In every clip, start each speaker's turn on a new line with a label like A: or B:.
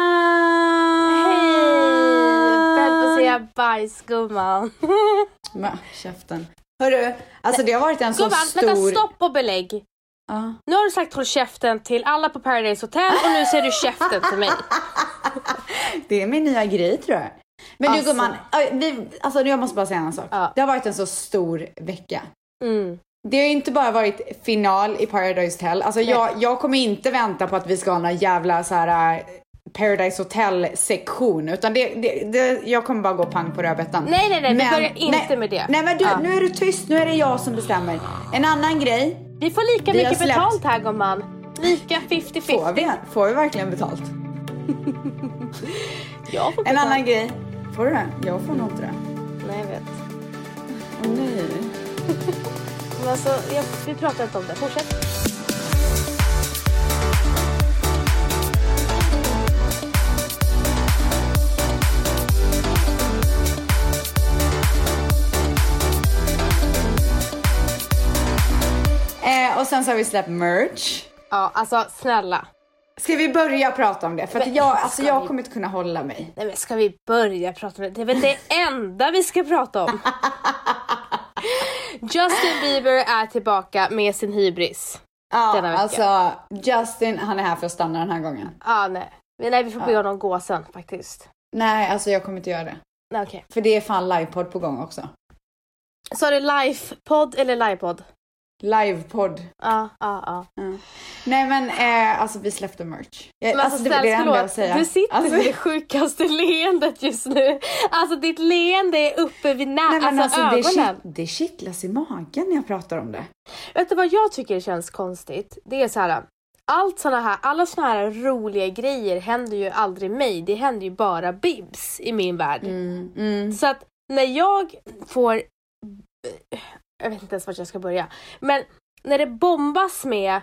A: Gumman!
B: Hej! Väl på att säga bajsgumman.
A: Ma, käften. Hörru, alltså det har varit en så
B: Gumman,
A: stor...
B: vänta stopp och belägg.
A: Ja.
B: Nu har du sagt håll käften till alla på Paradise Hotel och nu säger du käften till mig.
A: Det är min nya grej tror jag. Men
B: Alltså.
A: du gumman, aj, vi, alltså jag måste bara säga en sak.
B: Ja.
A: Det har varit en så stor vecka.
B: Mm.
A: Det har ju inte bara varit final i Paradise Hotel. Alltså jag, jag kommer inte vänta på att vi ska ha någon jävla så här äh, Paradise Hotel sektion utan det, det, det, jag kommer bara gå pang på rödbetan.
B: Nej, nej, nej, vi börjar inte
A: nej,
B: med det.
A: Nej men du,
B: Ja.
A: nu är du tyst, nu är det jag som bestämmer. En annan grej,
B: Vi får lika
A: Vi har
B: mycket
A: släppt-
B: betalt här gumman. Lika
A: får
B: 50-50.
A: vi, får vi verkligen betalt?
B: Jag får
A: En
B: betalt.
A: annan grej, får du det? Jag får nog inte det.
B: Nej, jag vet.
A: Åh nej.
B: Men alltså, jag, vi pratar inte om det. Fortsätt.
A: Eh, och sen så har vi släppt merch.
B: Ja, alltså snälla.
A: Ska vi börja prata om det? För att jag, alltså,
B: ska
A: jag
B: vi?
A: kommer inte kunna hålla mig.
B: Nej men ska vi börja prata om det? Det är väl det enda vi ska prata om. Justin Bieber är tillbaka med sin hybris.
A: Ja,
B: Denna vecka.
A: alltså Justin, han är här för att stanna den här gången.
B: Ah, nej. Men nej, vi får be
A: Ah.
B: honom gå sen faktiskt.
A: Nej, alltså jag kommer inte göra det.
B: Nej, Okej.
A: För det är fan livepodd på gång också.
B: Sa du livepodd eller livepodd?
A: Livepodd.
B: Ja,
A: ah,
B: ja, ja.
A: Nej men eh, alltså vi släppte merch. Jag,
B: Men alltså,
A: det, det är det
B: snälla,
A: enda jag vill
B: förlåt.
A: säga.
B: Du sitter
A: alltså,
B: med det sjukaste leendet just nu. Alltså ditt leende är uppe vid nä-
A: Nej, men
B: alltså,
A: alltså, det,
B: ögonen.
A: kitt, det kittlas i magen när jag pratar om det.
B: Vet du vad jag tycker känns konstigt? Det är så här. Allt såna här, alla såna här roliga grejer händer ju aldrig mig. Det händer ju bara Bibs i min värld.
A: Mm, mm.
B: Så att när jag får... Jag vet inte ens vart jag ska börja. Men när det bombas med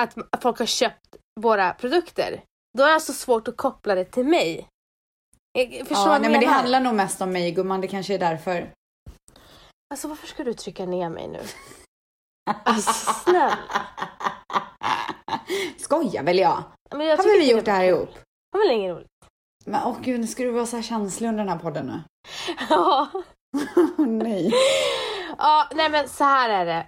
B: att m- folk har köpt våra produkter, då är jag så svårt att koppla det till mig. Jag jag förstår
A: Ja,
B: vad
A: nej,
B: jag
A: men det
B: menar.
A: handlar nog mest om mig gumman, det kanske är därför.
B: Alltså varför ska du trycka ner mig nu? Alltså snälla.
A: Skojar väl jag?
B: Men jag
A: Har
B: tycker
A: vi
B: inte
A: gjort det här ihop?
B: Det var väl ingen roligt?
A: Men åh gud, nu ska du vara så här känslig under den här podden nu.
B: Ja.
A: Åh nej.
B: Ja, nej men så här är det.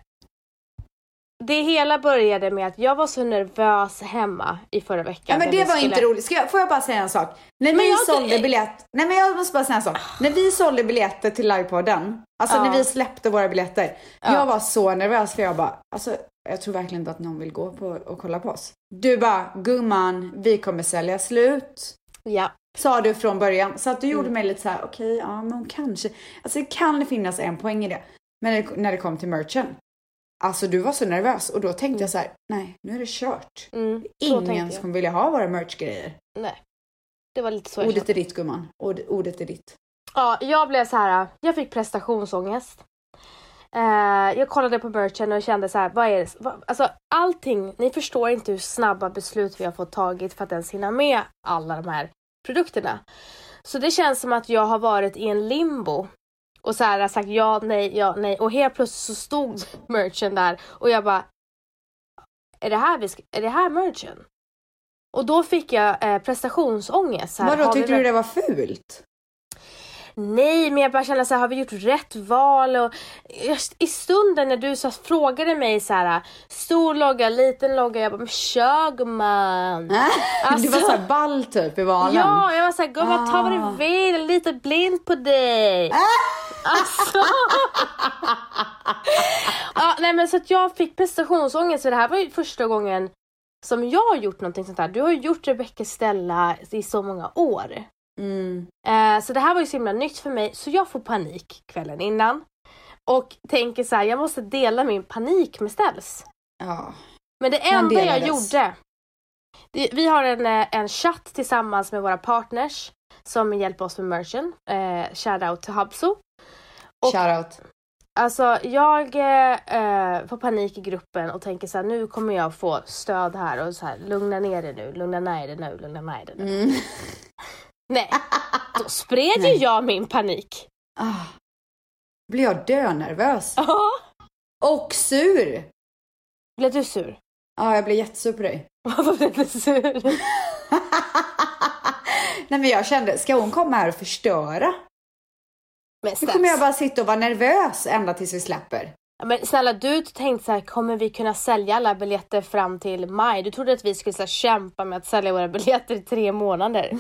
B: Det hela började med att jag var så nervös hemma i förra veckan.
A: Ja, men
B: när
A: det
B: vi
A: var
B: skulle-
A: inte roligt. Ska jag, får jag bara säga en sak? När vi
B: jag- Ah.
A: sålde biljett... Nej men jag måste bara säga en sak. När vi sålde biljetter till livepodden, alltså
B: Ja.
A: när vi släppte våra biljetter.
B: Ja.
A: Jag var så nervös för jag bara, alltså jag tror verkligen inte att någon vill gå på och kolla på oss. Du bara, gumman, vi kommer sälja slut.
B: Ja,
A: Sa du från början. Så att du
B: Mm.
A: gjorde mig lite så här, okej, ja men kanske. Alltså det kan finnas en poäng i det. Men när det, när det kom till merchen. Alltså du var så nervös och då tänkte jag så här, nej nu är det kört.
B: mm, så tänkte
A: Ingen
B: jag.
A: som ville ha våra merchgrejer.
B: Nej. Det var lite så jag
A: Ordet
B: kände.
A: är ditt gumman. Ord, ordet är ditt.
B: Ja, jag blev så här. jag fick prestationsångest. Eh, jag kollade på merchen och kände så här, vad är det? Vad, alltså allting, ni förstår inte hur snabba beslut vi har fått tagit för att ens hinna med alla de här produkterna. Så det känns som att jag har varit i en limbo och så här sagt ja, nej, ja, nej och helt plötsligt så stod merchen där och jag bara är det här, vi ska, är det här merchen? Och då fick jag eh, prestationsångest. så här,
A: Vadå,
B: har vi
A: tyckte du
B: verkligen-
A: det var fult?
B: Nej, men jag bara kände så här, har vi gjort rätt val? Och just I stunden när du så frågade mig så här, stor logga, liten logga, jag bara, men kör gumman.
A: du var såhär ball typ i valen.
B: Alltså. Ja, jag var såhär, gumman ta vad
A: Ah.
B: du vill, lite blind på dig. Alltså. ja, nej men så att jag fick prestationsångest, så det här var ju första gången som jag har gjort någonting sånt här. Du har ju gjort Rebecca Stella i så många år.
A: Mm.
B: Eh, så det här var ju så himla nytt för mig så jag får panik kvällen innan. Och tänker så här, jag måste dela min panik med Ställs.
A: Ja.
B: Men det
A: Men
B: enda jag
A: delades.
B: gjorde. Det, vi har en, eh, en chatt tillsammans med våra partners som hjälper oss med merchen. Eh, Shoutout till Hubso. Och-
A: Shoutout.
B: Alltså jag eh, eh, får panik i gruppen och tänker så här, nu kommer jag få stöd här och så här, lugna ner dig nu, lugna ner dig nu, lugna ner dig nu.
A: Mm.
B: Nej, då spred ju
A: Nej.
B: jag min panik.
A: Ah. Blir jag dönervös?
B: Ja.
A: Och sur!
B: Blev du sur?
A: Ja, jag blev jättesur på dig.
B: Varför blev du sur?
A: Nej men jag kände, ska hon komma här och förstöra?
B: Men,
A: Nu kommer jag
B: snälla,
A: bara sitta och vara nervös ända tills vi släpper.
B: men snälla, du tänkte så här, kommer vi kunna sälja alla biljetter fram till maj? Du trodde att vi skulle så här, kämpa med att sälja våra biljetter i tre månader.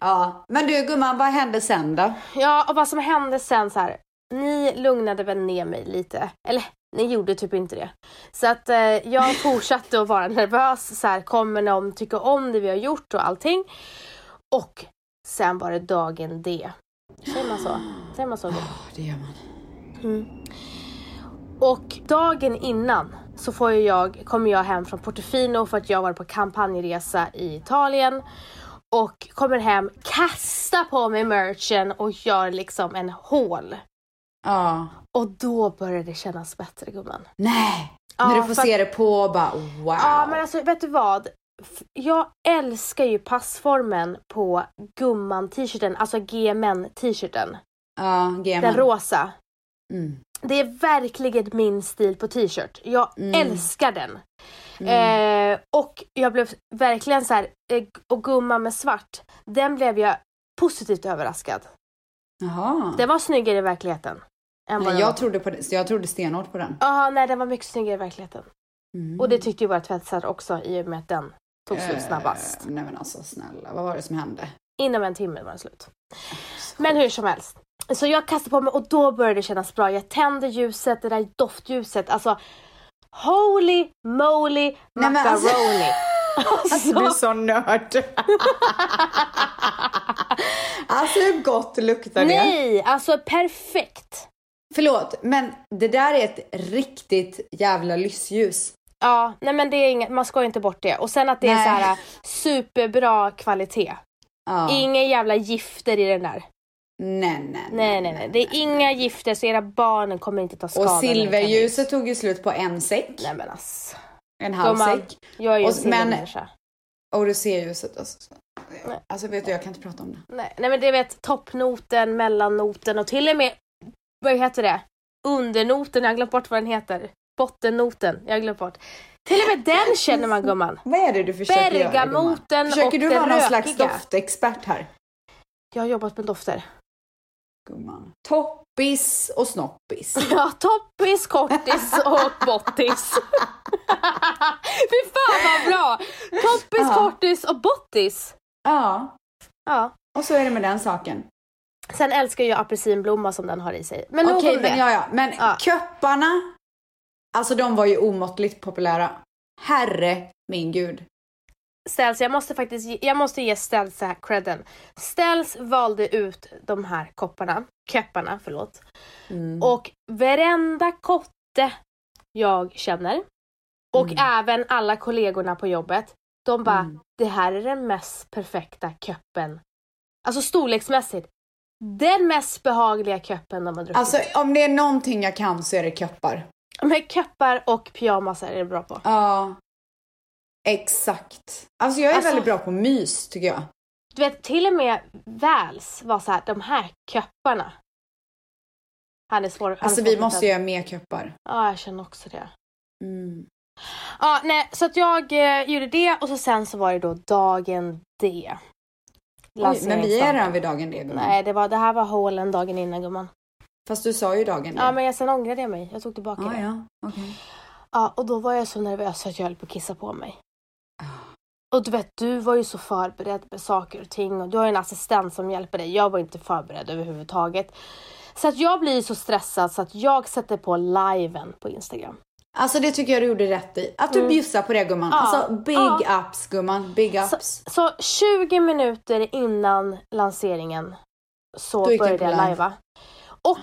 A: Ja, men du gumman, vad hände sen då?
B: Ja, och vad som hände sen så här. Ni lugnade väl ner mig lite. Eller, ni gjorde typ inte det. Så att eh, jag fortsatte att vara nervös. Så här, kommer någon tycka om det vi har gjort och allting? Och sen var det dagen D. Säger man så? Säger man så? Gud?
A: Ja, det gör man.
B: Och dagen innan så får ju jag, kommer jag hem från Portofino för att jag var på kampanjresa i Italien. Och kommer hem, kastar på mig merchen och gör liksom en hål.
A: Ja.
B: Och då börjar det kännas bättre gumman.
A: Nej!
B: Ja,
A: När du får
B: för-
A: se det på och bara wow.
B: Ja men alltså vet du vad? F- Jag älskar ju passformen på gumman-t-shirten, alltså GMN-t-shirten.
A: Ja,
B: Den
A: gemen.
B: rosa.
A: Mm.
B: Det är verkligen min stil på t-shirt. Jag
A: Mm.
B: älskar den. Eh, och jag blev verkligen så här, eh, och gumman med svart, den blev jag positivt överraskad.
A: Jaha.
B: Den var snyggare i verkligheten. Än vad
A: Nej,
B: den var
A: jag,
B: på-
A: trodde på det, så jag trodde stenhårt på den. Mm.
B: Ja, nej den var mycket snyggare i verkligheten. Och det tyckte ju våra tvättisar också i och med att den tog slut snabbast.
A: Eh, nej men alltså snälla, vad var det som hände?
B: Inom en timme var den slut. Men hur som helst. Så jag kastade på mig och då började det kännas bra. Jag tände ljuset, det där doftljuset. Alltså, holy moly
A: Nej, men alltså-
B: macaroni.
A: Alltså du är så nörd. alltså hur gott luktar det?
B: Nej, alltså perfekt.
A: Förlåt, men det där är ett riktigt jävla lyssljus.
B: Ja, nej men det är inget, man ska ju inte bort det. Och sen att det är
A: Nej.
B: så här superbra kvalitet.
A: Ja.
B: Inga jävla gifter i den där.
A: nej, nej,
B: Nej, nej, nej. Det är inga gifter så era barn kommer inte ta skada.
A: Och
B: när de
A: silverljuset tog ju slut på en säck,
B: kan- Nej men ass.
A: en halv
B: Gumman,
A: säck.
B: jag är ju
A: Och
B: en
A: s- men-
B: silvermänniska.
A: Och roséhuset. Alltså, så- alltså vet du, jag kan inte prata om det.
B: Nej, nej men det vet toppnoten, mellannoten och till och med, vad heter det? Undernoten, jag har glömt bort vad den heter. Bottennoten, jag har glömt bort. Till och med den känner man gumman.
A: Vad är det du försöker göra gumman?
B: Bergamoten och
A: Försöker du
B: det
A: vara någon slags
B: rökiga.
A: doftexpert här?
B: Jag har jobbat med dofter.
A: Gumman. Toppis och snoppis.
B: Ja, toppis, kortis och bottis. Fy fan vad bra! Toppis,
A: Ja.
B: kortis och bottis.
A: ja,
B: Ja.
A: och så är det med den saken.
B: Sen älskar jag apelsinblomma som den har i sig. Men nog
A: Okej,
B: om det.
A: men ja, ja. Men
B: Ja.
A: köpparna, alltså de var ju omåttligt populära. Herre min gud.
B: Ställs, jag måste faktiskt ge, jag måste ge Ställs så här credden. Ställs valde ut de här kopparna, köpparna, förlåt.
A: Mm.
B: Och varenda kotte jag känner och även alla kollegorna på jobbet, de bara, det här är den mest perfekta köppen. Alltså storleksmässigt. Den mest behagliga köppen de har druckit.
A: Alltså om det är någonting jag kan så är det köppar.
B: Men köppar och pyjamasar är det bra på.
A: Ja. Exakt. Alltså jag är
B: Alltså-
A: väldigt bra på mys tycker jag.
B: Du vet, till och med Väls var så här, de här köpparna. Han är svår. han är
A: Alltså vi
B: svår-
A: måste göra mer köppar.
B: Ja, jag känner också det.
A: Mm.
B: Ja, nej, så att jag eh, gjorde det och så sen så var det då dagen D.
A: Oj, men vi är
B: Lanseringsdagen.
A: redan vid dagen D gumman.
B: Nej, det, var, det här var hålen dagen innan gumman.
A: Fast du sa ju dagen D.
B: Ja, men jag, sen ångrade jag mig. Jag tog tillbaka
A: ah,
B: det. Ja.
A: ja. okej.
B: och då var jag så nervös så att jag höll på att kissa på mig. Och du vet, du var ju så förberedd med saker och ting och du har ju en assistent som hjälper dig. Jag var inte förberedd överhuvudtaget. Så att jag blir ju så stressad så att jag sätter på liven på Instagram.
A: Alltså det tycker jag du gjorde rätt i. Att du
B: Mm.
A: bjussar på det gumman. Alltså big ups gumman. Big
B: Så,
A: ups.
B: så 20 minuter innan lanseringen så
A: Då gick du
B: började
A: på
B: jag
A: live.
B: lajva. Och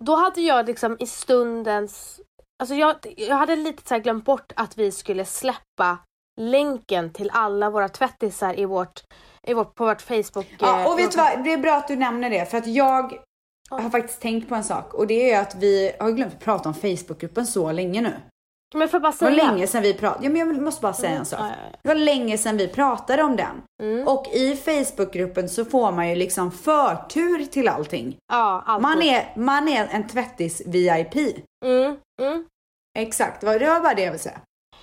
B: då hade jag liksom i stundens... Alltså jag, jag hade lite så här glömt bort att vi skulle släppa länken till alla våra tvättisar i vårt, i vårt, på vårt Facebook...
A: Ja,
B: eh,
A: och vet du vad, det är bra att du nämner det för att jag har faktiskt tänkt på en sak och det är att vi har glömt att prata om Facebookgruppen så länge nu.
B: Men får jag bara
A: Det
B: säga?
A: var länge sedan vi pratade, ja, men jag måste bara säga en sak.
B: Mm. ja, ja, Mm.
A: Det var länge sedan vi pratade om den. Och i Facebookgruppen så får man ju liksom förtur till allting.
B: Ja, alltid.
A: Man är, man är en tvättis VIP.
B: Mm, mm.
A: Exakt, det var- det var bara det jag ville säga.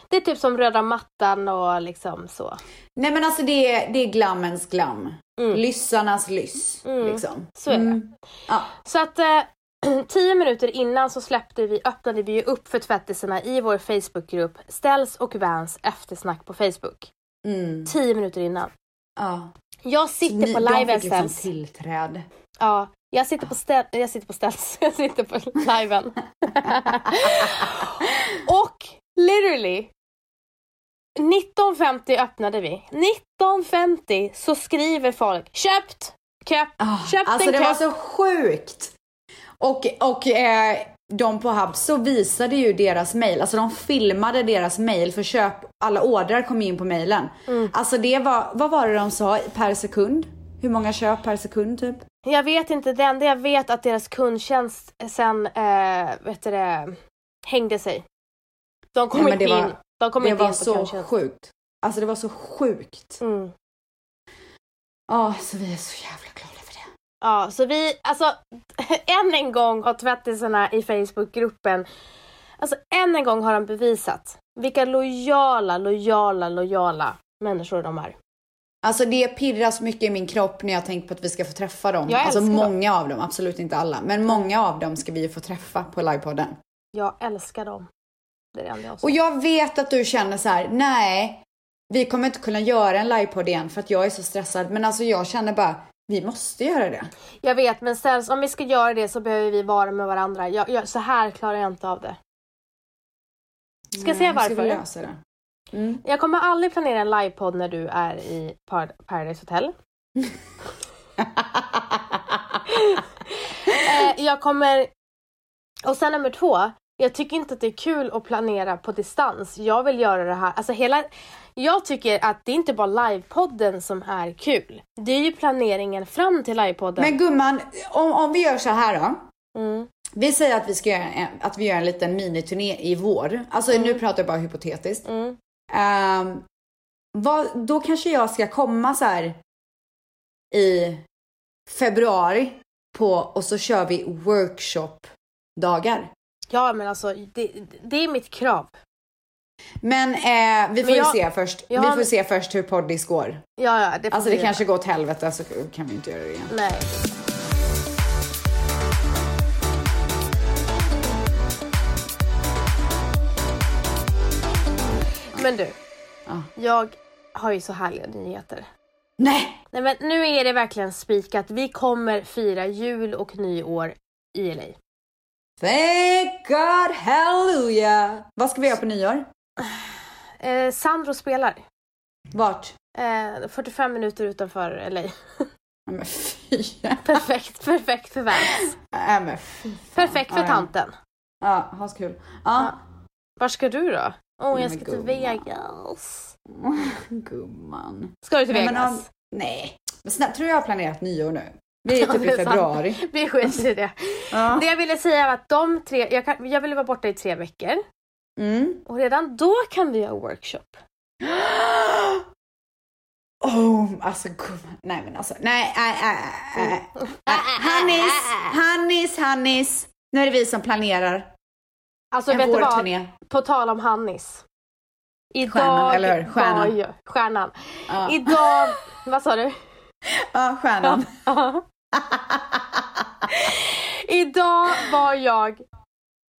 B: Det är typ som röda mattan och liksom så.
A: Nej men alltså det är, det är glammens glam. Lyssarnas lyss.
B: Mm.
A: Liksom.
B: Så är det.
A: Ja.
B: Så att eh, tio minuter innan så släppte vi, öppnade vi ju upp för tvättisarna i vår Facebookgrupp Ställs och Vans eftersnack på Facebook.
A: Mm.
B: Tio minuter innan.
A: ja.
B: Jag sitter
A: Ni-
B: på live
A: De fick liksom
B: Ställs.
A: tillträde.
B: Ja, jag sitter på ställ, jag sitter på ställs, jag sitter på liven. och literally 19.50 öppnade vi. 19.50 så skriver folk köpt, köpt,
A: Ah,
B: köpt
A: alltså
B: en
A: det
B: kopp.
A: var så sjukt. Och, och eh, de på Hub så visade ju deras mail, alltså de filmade deras mail för köp, alla ordrar kom in på mailen.
B: Mm.
A: Alltså det var, vad var det de sa per sekund? Hur många köp per sekund typ?
B: Jag vet inte, det enda jag vet att deras kundtjänst sen, eh, vet du det, hängde sig. De kom
A: Nej, men
B: inte
A: det var-
B: in. De kom
A: det
B: inte
A: var
B: in på
A: så
B: kundtjänst.
A: sjukt. Alltså det var så sjukt.
B: Mm.
A: Ja, så vi är så jävla glada för det.
B: Ja, så vi, alltså, än en gång har tvättisarna i Facebookgruppen, alltså än en gång har de bevisat vilka lojala, lojala, lojala människor de är.
A: Alltså det pirrar så mycket i min kropp när jag tänker på att vi ska få träffa dem.
B: Jag
A: alltså
B: älskar dem.
A: många av dem, absolut inte alla, men många av dem ska vi ju få träffa på livepodden.
B: Jag älskar dem. Det är det enda jag
A: Och
B: säger.
A: jag vet att du känner så här, nej, vi kommer inte kunna göra en livepodd igen för att jag är så stressad. Men alltså jag känner bara, vi måste göra det.
B: Jag vet, men ställs, om vi ska göra det så behöver vi vara med varandra. Jag, jag, så här klarar jag inte av det. Ska jag säga
A: Mm,
B: varför?
A: Ska vi lösa det? Mm.
B: Jag kommer aldrig planera en livepodd när du är i Par- Paradise Hotel. eh, jag kommer... Och sen nummer två. Jag tycker inte att det är kul att planera på distans. Jag vill göra det här. Alltså hela... Jag tycker att det är inte bara livepodden som är kul. Det är ju planeringen fram till livepodden.
A: Men gumman, om, om vi gör så här då.
B: Mm.
A: Vi säger att vi ska göra en, att vi gör en liten miniturné i vår. Alltså nu pratar jag bara hypotetiskt.
B: Mm.
A: Ehm, vad, då kanske jag ska komma så här i februari på och så kör vi workshop-dagar.
B: Ja men alltså, det, det är mitt krav.
A: Men eh, vi får
B: jag-
A: ju se först.
B: jag
A: vi
B: har-
A: får se först hur poddis går.
B: Ja, ja, det får
A: Alltså det
B: vi-
A: kanske går åt helvete så kan vi inte göra det igen.
B: Nej. Men du,
A: Ja.
B: jag har ju så härliga nyheter.
A: Nej!
B: Nej men nu är det verkligen spikat. Vi kommer fira jul och nyår i LA.
A: Thank God, hallelujah! Vad ska vi göra på nyår?
B: Eh, Sandro spelar.
A: Vart?
B: Eh, 45 minuter utanför LA.
A: Nej men fy.
B: Perfekt, perfekt för Vans.
A: Nej men fy.
B: Perfekt
A: Ja,
B: för
A: ja.
B: tanten.
A: Ja, ha så kul. Ja.
B: Var ska du då? Åh,
A: Nej,
B: jag
A: men
B: ska till
A: gumman.
B: Vegas.
A: Gumman.
B: Ska du till
A: Nej,
B: Vegas?
A: men om- Nej. Men snälla, tror jag har planerat nyår nu. Vi är typ
B: det
A: i
B: är sant.
A: februari.
B: Vi skiter i det.
A: Ja.
B: Det jag ville säga var att de tre, jag, kan, jag ville vara borta i tre veckor
A: Mm.
B: och redan då kan vi göra workshop.
A: Oh, alltså gumman. Nej men alltså. Nej, nej, nej, nej, nej. Nej, äh, Hannis, Hannis, Hannis. Nu är det vi som planerar
B: Alltså
A: en
B: vet du vad?
A: vårturné.
B: På tal om Hannis. Idag
A: Stjärnan, eller hur?
B: var
A: Stjärnan.
B: ju, stjärnan.
A: Ja,
B: Idag, vad sa du?
A: ja stjärnan.
B: Idag var jag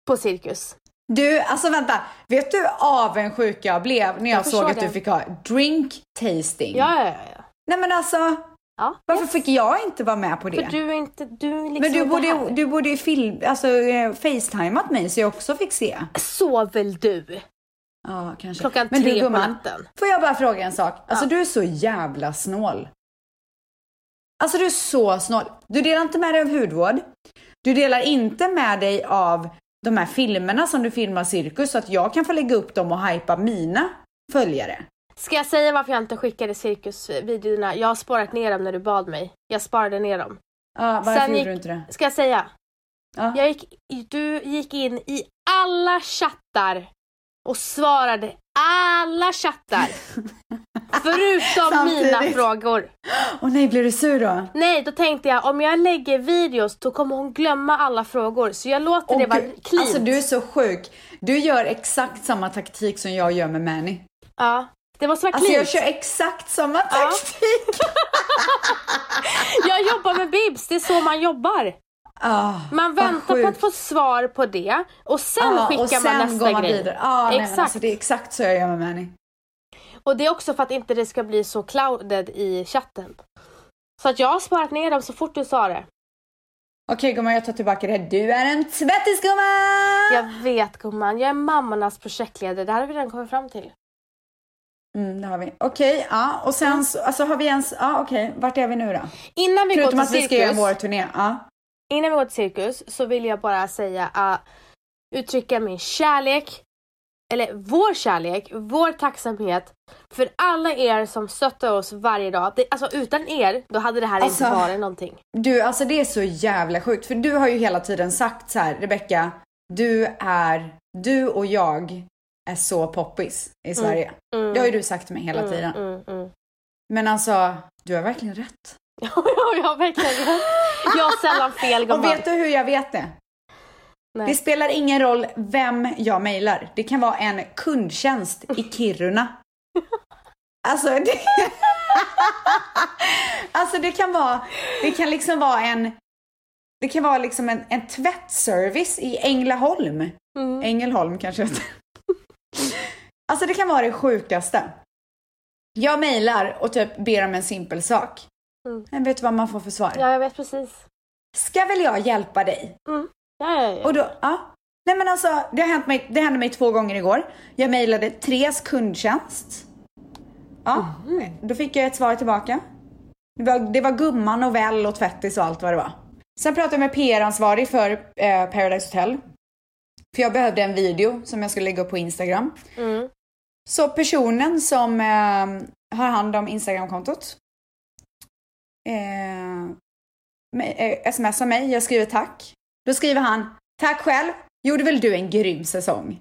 B: på cirkus.
A: Du, alltså vänta. Vet du avundsjuk jag blev när jag,
B: Jag förstår
A: såg att
B: det.
A: du fick ha drink tasting?
B: Ja, ja, ja, ja.
A: Nej men alltså,
B: ja.
A: varför
B: yes.
A: fick jag inte vara med på det?
B: För du är inte, du är liksom
A: men du
B: inte
A: borde,
B: här.
A: du borde ju film, alltså, eh, facetimat mig så jag också fick se.
B: Sov väl du?
A: Ja, kanske.
B: Klockan
A: men
B: tre
A: du,
B: på
A: gumman,
B: natten.
A: Får jag bara fråga en sak? Alltså du är så jävla snål. Alltså du är så snål. Du delar inte med dig av hudvård. Du delar inte med dig av de här filmerna som du filmar cirkus så att jag kan få lägga upp dem och hypa mina följare.
B: Ska jag säga varför jag inte skickade cirkusvideorna? Jag har sparat ner dem när du bad mig. Jag sparade ner dem.
A: Ja, varför
B: Sen
A: gjorde
B: gick-
A: du inte det?
B: Ska jag säga?
A: Ja.
B: Jag gick, du gick in i alla chattar och svarade alla chattar. förutom mina
A: Samtidigt.
B: frågor.
A: Åh nej, blir du sur då?
B: Nej, då tänkte jag om jag lägger videos då kommer hon glömma alla frågor. Så jag låter
A: Åh,
B: det vara
A: gud.
B: clean.
A: Alltså du är så sjuk. Du gör exakt samma taktik som jag gör med Manny.
B: Ja. Det måste vara
A: Alltså
B: clean.
A: jag kör exakt samma taktik.
B: jag jobbar med bibs, det är så man jobbar.
A: Ah,
B: Man
A: vad
B: väntar på att
A: sjukt.
B: få svar på det och sen
A: Ja,
B: skickar
A: Ah, och sen
B: man nästa
A: går man
B: grej.
A: vidare. Ah, nej, men
B: Exakt.
A: alltså, det är exakt så jag gör med Manny.
B: Och det är också för att inte det ska bli så clouded i chatten. Så att jag har sparat ner dem så fort du sa det.
A: Okej gumman, jag tar tillbaka det här. Du är en tvättis gumman!
B: Jag vet gumman, jag är mammornas projektledare. Det här har vi redan kommit fram till.
A: Mm, det har vi. Okej, ja. Och sen så, alltså har vi ens, ja okej, vart är vi nu då?
B: Innan Mm. vi, går
A: Förutom
B: till
A: att vi ska göra
B: cirkus,
A: vår turné, ja.
B: innan vi går till cirkus så vill jag bara säga att uttrycka min kärlek, eller vår kärlek, vår tacksamhet för alla er som stöttar oss varje dag. Det, alltså utan er, då hade det här
A: Alltså.
B: inte varit någonting.
A: Du, alltså det är så jävla sjukt för du har ju hela tiden sagt så här, Rebecka, du är, du och jag är så poppis i Sverige.
B: Mm.
A: Det har ju du sagt till mig hela tiden.
B: Mm, mm.
A: Men alltså, du har verkligen rätt.
B: jag har verkligen rätt. Jag har sällan fel gumman.
A: Och vet du hur jag vet det?
B: Nej.
A: Det spelar ingen roll vem jag mejlar. Det kan vara en kundtjänst i Kiruna. Alltså det... alltså det kan vara, det kan liksom vara en, det kan vara liksom en, en tvättservice i Ängelholm.
B: Mm.
A: Ängelholm kanske jag heter. Alltså det kan vara det sjukaste. Jag mejlar och typ ber om en simpel sak.
B: Mm.
A: Men vet du vad man får för svar?
B: Ja, jag vet precis.
A: Ska väl jag hjälpa dig?
B: Ja, ja, ja.
A: Och då, ja. Nej men alltså, det, har hänt mig, det hände mig två gånger igår. Jag mejlade Tres kundtjänst. Ja, då fick jag ett svar tillbaka. Det var, det var gumman och väl och tvättis och allt vad det var. Sen pratade jag med PR-ansvarig för eh, Paradise Hotel. För jag behövde en video som jag skulle lägga upp på Instagram.
B: Mm.
A: Så personen som eh, har hand om Instagramkontot eh, me- eh, smsar mig, jag skriver tack. Då skriver han, tack själv, gjorde väl du en grym säsong?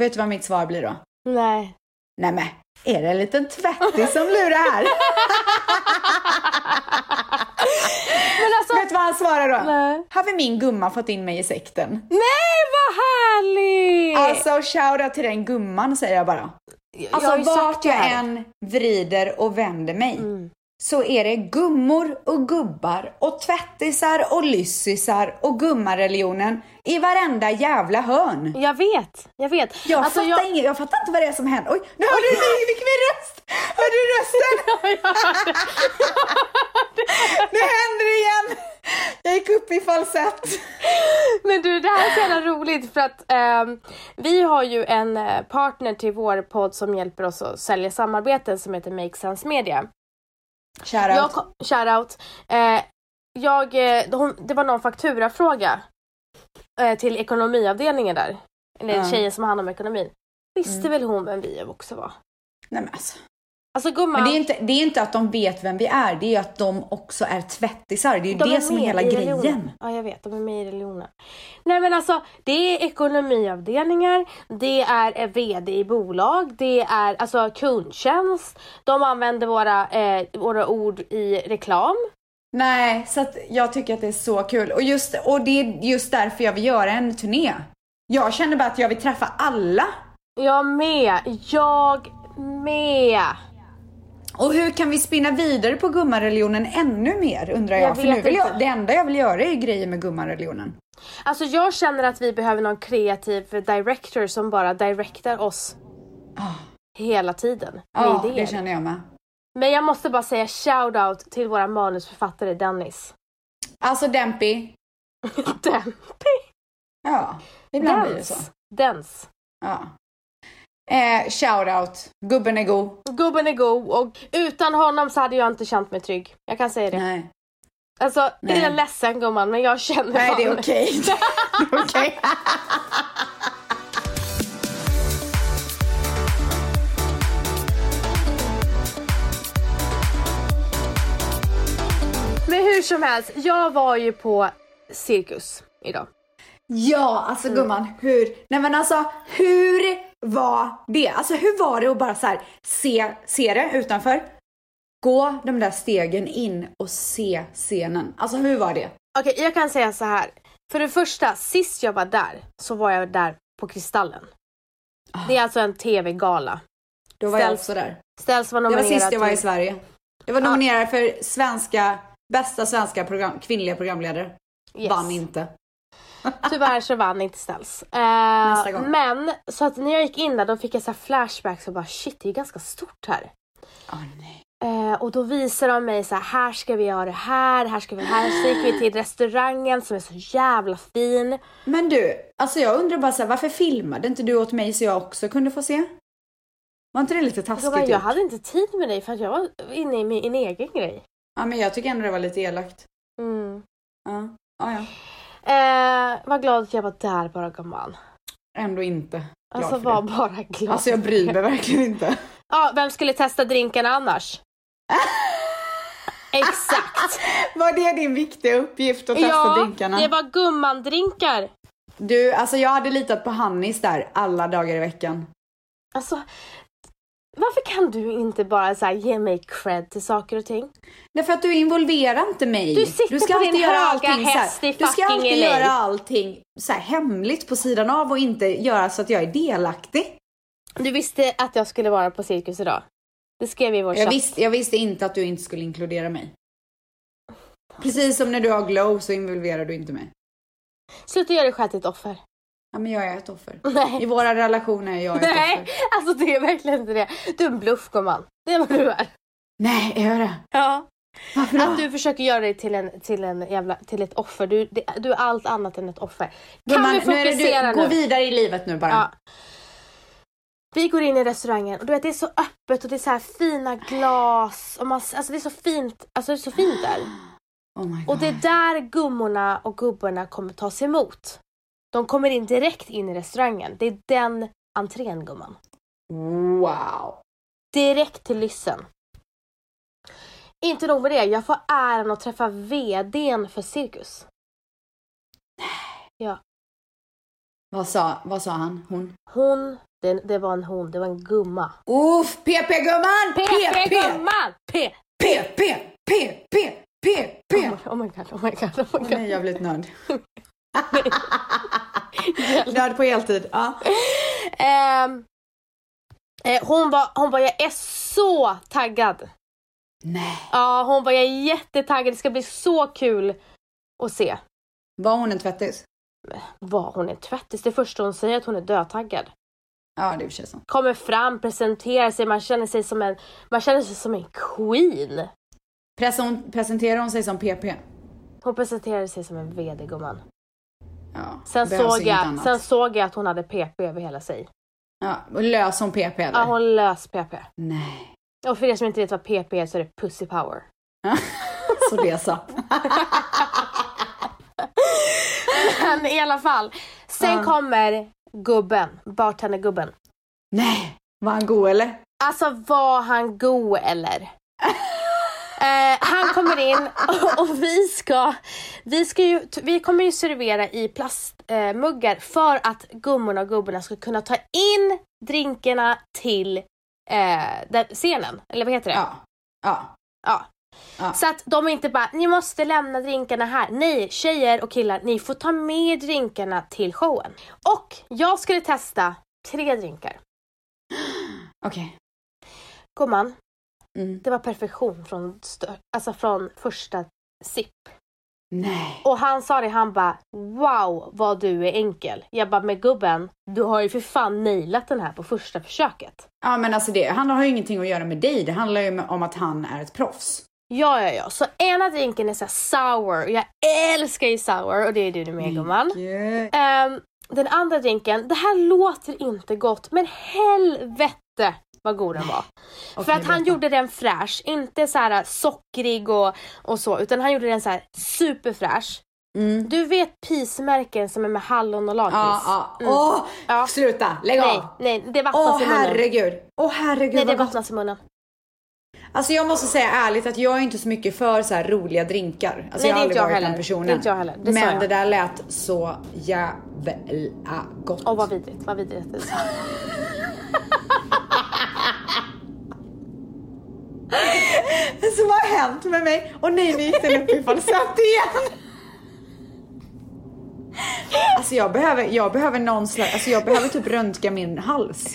A: Vet du vad mitt svar blir då?
B: Nej.
A: Nej men, är det en liten tvättis som lurar här?
B: Men alltså,
A: Vet du vad han svarar då?
B: Nej.
A: Har vi min gumma fått in mig i sekten?
B: nej vad härligt!
A: Alltså shoutout till den gumman säger jag bara.
B: Jag- jag
A: Alltså
B: har ju sagt
A: vart
B: det
A: jag
B: här.
A: än vrider och vänder mig
B: Mm.
A: så är det gummor och gubbar och tvättisar och lyssisar och gummareligionen i varenda jävla hörn.
B: Jag vet, jag vet.
A: Jag,
B: Alltså,
A: fattar inget, jag fattar inte vad det är som händer. Oj, nu hörde du min, fick min röst! Hörde du rösten? Nu händer det igen! Jag gick upp i falsett.
B: Men du, det här är så jävla roligt för att ehm, vi har ju en eh, partner till vår podd som hjälper oss att sälja samarbeten som heter Make Sense Media.
A: Shoutout.
B: Jag, kom- shoutout. Eh, jag, eh, hon, det var någon fakturafråga eh, till ekonomiavdelningen där. Eller
A: Ja. Mm.
B: tjejen som har hand om ekonomin. Visste väl hon vem vi också var?
A: Nej, men alltså.
B: Alltså gumman,
A: Men det är, inte, det är inte att de vet vem vi är, det är att de också är tvättisar. Det är ju
B: de
A: det som är
B: med
A: hela
B: i
A: grejen.
B: religionen. Ja, jag vet. De är med i religionen. Nej men alltså, det är ekonomiavdelningar, det är eh, VD i bolag, det är alltså kundtjänst. De använder våra, eh, våra ord i reklam.
A: Nej, så att jag tycker att det är så kul. Och, just, och det är just därför jag vill göra en turné. Jag känner bara att jag vill träffa alla.
B: Jag med! Jag med!
A: Och hur kan vi spinna vidare på gummareligionen ännu mer undrar jag.
B: Jag
A: För
B: vet
A: nu vill jag,
B: inte.
A: det enda jag vill göra är ju grejer med gummareligionen.
B: Alltså jag känner att vi behöver någon kreativ director som bara directar oss hela tiden med
A: Ja,
B: idéer.
A: det känner jag med.
B: Men jag måste bara säga shoutout till våra manusförfattare Dennis.
A: Alltså Dempy,
B: Den.
A: ja, ibland blir det så.
B: Dens. Dens.
A: Ja. Eh, shoutout, gubben är god.
B: Gubben är god och utan honom så hade jag inte känt mig trygg. Jag kan säga det.
A: Nej,
B: Alltså,
A: Nej.
B: jag är ledsen gumman men jag känner
A: Nej det är
B: honom.
A: okej. Det är okej.
B: Men hur som helst, jag var ju på cirkus idag.
A: Ja, alltså gumman, hur, nej men alltså hur var det? Alltså hur var det att bara så här se, se det utanför? Gå de där stegen in och se scenen. Alltså hur var det?
B: Okej, jag kan säga så här. För det första, sist jag var där så var jag där på Kristallen.
A: Ah.
B: Det är alltså en tv-gala.
A: Då var jag
B: Ställs-
A: också där.
B: Ställs var
A: Det var
B: nominerad
A: sist jag var i
B: till...
A: Sverige. Jag var nominerad för svenska, bästa svenska program, kvinnliga programledare.
B: Yes.
A: Vann inte.
B: Tyvärr så vann inte Ställs. Eh,
A: gång.
B: men så att när jag gick in där då fick jag så här flashbacks och bara shit det är ganska stort här.
A: Åh nej.
B: Eh, och då visar de mig så här, här ska vi ha det här, här ska vi ha det här. Så gick vi till restaurangen som är så jävla fin.
A: Men du, alltså jag undrar bara så här, varför filmade inte du åt mig så jag också kunde få se? Var inte det lite
B: Så
A: taskigt?
B: bara, jag
A: gjort?
B: hade inte tid med dig för att jag var inne i min, min egen grej.
A: Ja men jag tycker ändå det var lite elakt.
B: Mm.
A: Ja. Ja, ja.
B: Eh, var glad att jag var där bara gumman.
A: Ändå inte. Glad
B: Alltså
A: för
B: var
A: det.
B: bara glad.
A: Alltså jag bryr mig verkligen inte.
B: Ja, vem skulle testa drinkarna annars? Exakt!
A: Var det din viktiga uppgift att testa
B: ja,
A: drinkarna?
B: det var gummandrinkar.
A: Du, alltså jag hade litat på Hannis där alla dagar i veckan.
B: Alltså, varför kan du inte bara så här, ge mig cred till saker och ting?
A: Därför att du involverar inte mig.
B: Du sitter på din höga häst
A: Du
B: i
A: ska
B: fucking
A: alltid
B: LA.
A: göra allting så här hemligt på sidan av och inte göra så att jag är delaktig.
B: Du visste att jag skulle vara på cirkus idag. Det skrev vi i vår
A: Jag,
B: chatt.
A: visst, jag visste inte att du inte skulle inkludera mig. Precis som när du har glow så involverar du inte mig.
B: Sluta göra dig själv till ett offer.
A: Ja men jag är ett offer. I
B: Nej.
A: våra relationer är jag ett
B: Nej,
A: offer.
B: alltså det är verkligen inte det. Du är en bluff gumman. Det är vad du är.
A: Nej, är jag det?
B: Ja.
A: Varför då?
B: Att du försöker göra dig till, en, till, en jävla, till ett offer. Du, det, du är allt annat än ett offer. Kan
A: Gumman,
B: vi
A: nu är det
B: fokusera
A: du,
B: nu?
A: Gå vidare i livet nu bara.
B: Ja. Vi går in i restaurangen och du vet det är så öppet och det är så här fina glas. Och man, alltså det är så fint. Alltså det är så fint där.
A: Oh my God.
B: Och det är där gummorna och gubbarna kommer tas emot. De kommer in direkt in i restaurangen. Det är den entrén gumman.
A: Wow.
B: Direkt till lyssen. Inte nog med det, jag får äran att träffa VDn för Cirkus. Ja,
A: Vad sa, vad sa han? Hon?
B: hon, det, det var en hon, det var en gumma.
A: Uff, PP-gumman!
B: PP-gumman! P!
A: PP! PP! PP!
B: Oh my god, oh my god, oh my god.
A: Nej, jag har blivit nörd. nörd på heltid. Ja.
B: Ehm, eh, hon var, hon var, jag är så taggad.
A: Nej.
B: Ja, hon var, jag är jättetaggad, det ska bli så kul att se.
A: Var hon en tvättis?
B: Var hon en tvättis? Det första hon säger är att hon är dödtaggad.
A: Ja, det är i och för sig sant.
B: kommer fram, presenterar sig, man känner sig som en, man känner sig som en queen.
A: Pressa hon- Presenterar hon sig som PP?
B: Hon presenterade sig som en VD gumman.
A: Ja,
B: Sen,
A: det behövs
B: såg
A: inget
B: jag,
A: annat.
B: sen såg jag att hon hade PP över hela sig.
A: Ja, och lös hon PP eller?
B: Ja, hon lös PP.
A: Nej.
B: Och för er som inte vet vad PP är så är det pussy power.
A: Så det sa.
B: Men i alla fall. Sen
A: Ja.
B: kommer gubben, bartendergubben.
A: Nej. Var han god eller?
B: Alltså var han go eller? Eh, han kommer in och, och vi ska, vi ska ju, t- vi kommer ju servera i plastmuggar eh, muggar för att gummorna och gubbarna ska kunna ta in drinkarna till eh, den scenen, eller vad heter det?
A: Ja. Ja.
B: Ja.
A: Ja.
B: Så att de inte bara, ni måste lämna drinkarna här. Nej, tjejer och killar, ni får ta med drinkarna till showen. Och jag skulle testa tre drinkar.
A: Okej.
B: Gumman,
A: Mm.
B: Det var perfektion från, stö- alltså från första sipp.
A: Nej.
B: Och han sa det, han bara wow vad du är enkel. Jag bara med gubben, du har ju för fan nailat den här på första försöket.
A: Ja men alltså det handlar har ju ingenting att göra med dig. Det handlar ju om att han är ett proffs.
B: Ja, ja, ja. Så ena drinken är så här sour och jag älskar ju sour och det är du nu med gumman.
A: Yeah.
B: Ehm, den andra drinken, det här låter inte gott men helvete vad god den var. För
A: Okej,
B: att
A: berätta.
B: han gjorde den fräsch, inte så här äh, sockrig och, och så utan han gjorde den så här superfräsch.
A: Mm.
B: Du vet pismärken som är med hallon och
A: Ja,
B: lakrits?
A: ja.
B: Mm.
A: Åh,
B: Ja.
A: sluta! Lägg
B: Nej,
A: av!
B: nej, det vattnas
A: Åh
B: i munnen.
A: herregud! Åh herregud
B: nej, det
A: vad gott!
B: vattnas i munnen.
A: Alltså jag måste säga ärligt att jag är inte så mycket för så här roliga drinkar. Alltså jag
B: Nej, det
A: har
B: är inte
A: aldrig
B: jag
A: varit
B: heller.
A: den personen.
B: Det är inte jag heller. Det sa
A: Men
B: jag.
A: det där lät så jävla gott.
B: Åh vad vidrigt, vad vidrigt det är.
A: Alltså vad har hänt med mig? Och nej nu gick den upp i falsett igen! Alltså jag behöver, jag behöver någon slags, alltså jag behöver typ röntga min hals.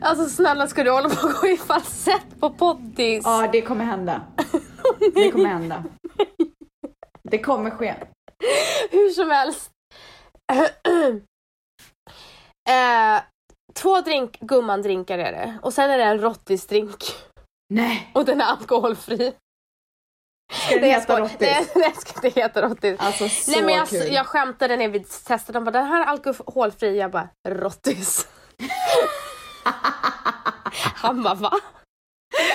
B: Alltså snälla ska du hålla på och gå i falsett på poddis?
A: Ja, det kommer hända. Det kommer hända. Det kommer ske.
B: Hur som helst. eh, två drink, gummandrinkar är det och sen är det en rottisdrink
A: Nej,
B: och den är alkoholfri.
A: ska den heta Rottis?
B: Nej, den ska inte heta rottis.
A: Alltså så
B: Nej men jag,
A: kul.
B: jag skämtade när vi testade, de bara den här är alkoholfri, jag bara rottis. Han bara va?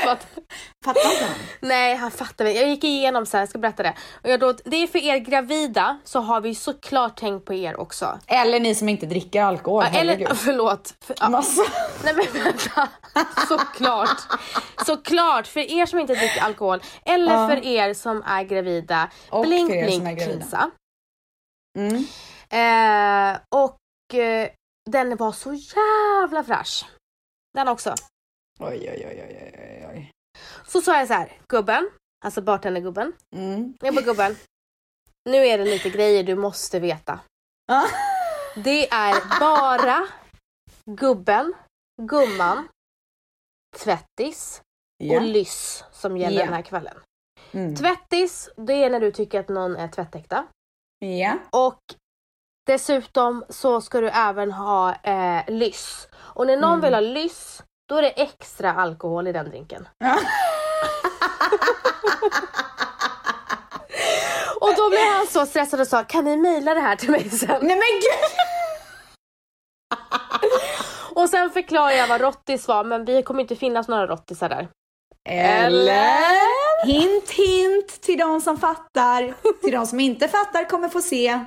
B: Vad-
A: Fattar inte han?
B: Nej, han fattar mig. Jag gick igenom så här, jag ska berätta det. Och jag då, det är för er gravida, så har vi såklart tänkt på er också.
A: Eller ni som inte dricker alkohol,
B: Ja,
A: herregud.
B: eller förlåt. För, ja,
A: Massa.
B: nej men vänta. Såklart. Såklart, för er som inte dricker alkohol. Eller
A: Ja.
B: för er som är gravida.
A: Och för
B: blink,
A: er som är
B: blink,
A: gravida.
B: pinsa.
A: Mm.
B: Eh, och eh, den var så jävla fräsch. Den också.
A: Oj, oj, oj, oj, oj, oj.
B: Så sa jag så här, gubben, alltså bartendergubben.
A: Mm.
B: Jag bara gubben, nu är det lite grejer du måste veta.
A: Ah.
B: Det är bara gubben, gumman, tvättis och
A: Ja.
B: lyss som gäller
A: Ja.
B: den här kvällen.
A: Mm.
B: Tvättis, det är när du tycker att någon är tvättäkta.
A: Ja.
B: Och dessutom så ska du även ha eh, lyss. Och när någon
A: Mm.
B: vill ha lyss, då är det extra alkohol i den drinken.
A: Ja.
B: Och då blev han så stressad och sa, kan ni mejla det här till mig sen?
A: Nej men gud!
B: Och sen förklarade jag vad rottis var, men vi kommer inte finnas några rottisar där.
A: Eller? Hint hint till de som fattar. Till de som inte fattar kommer få se.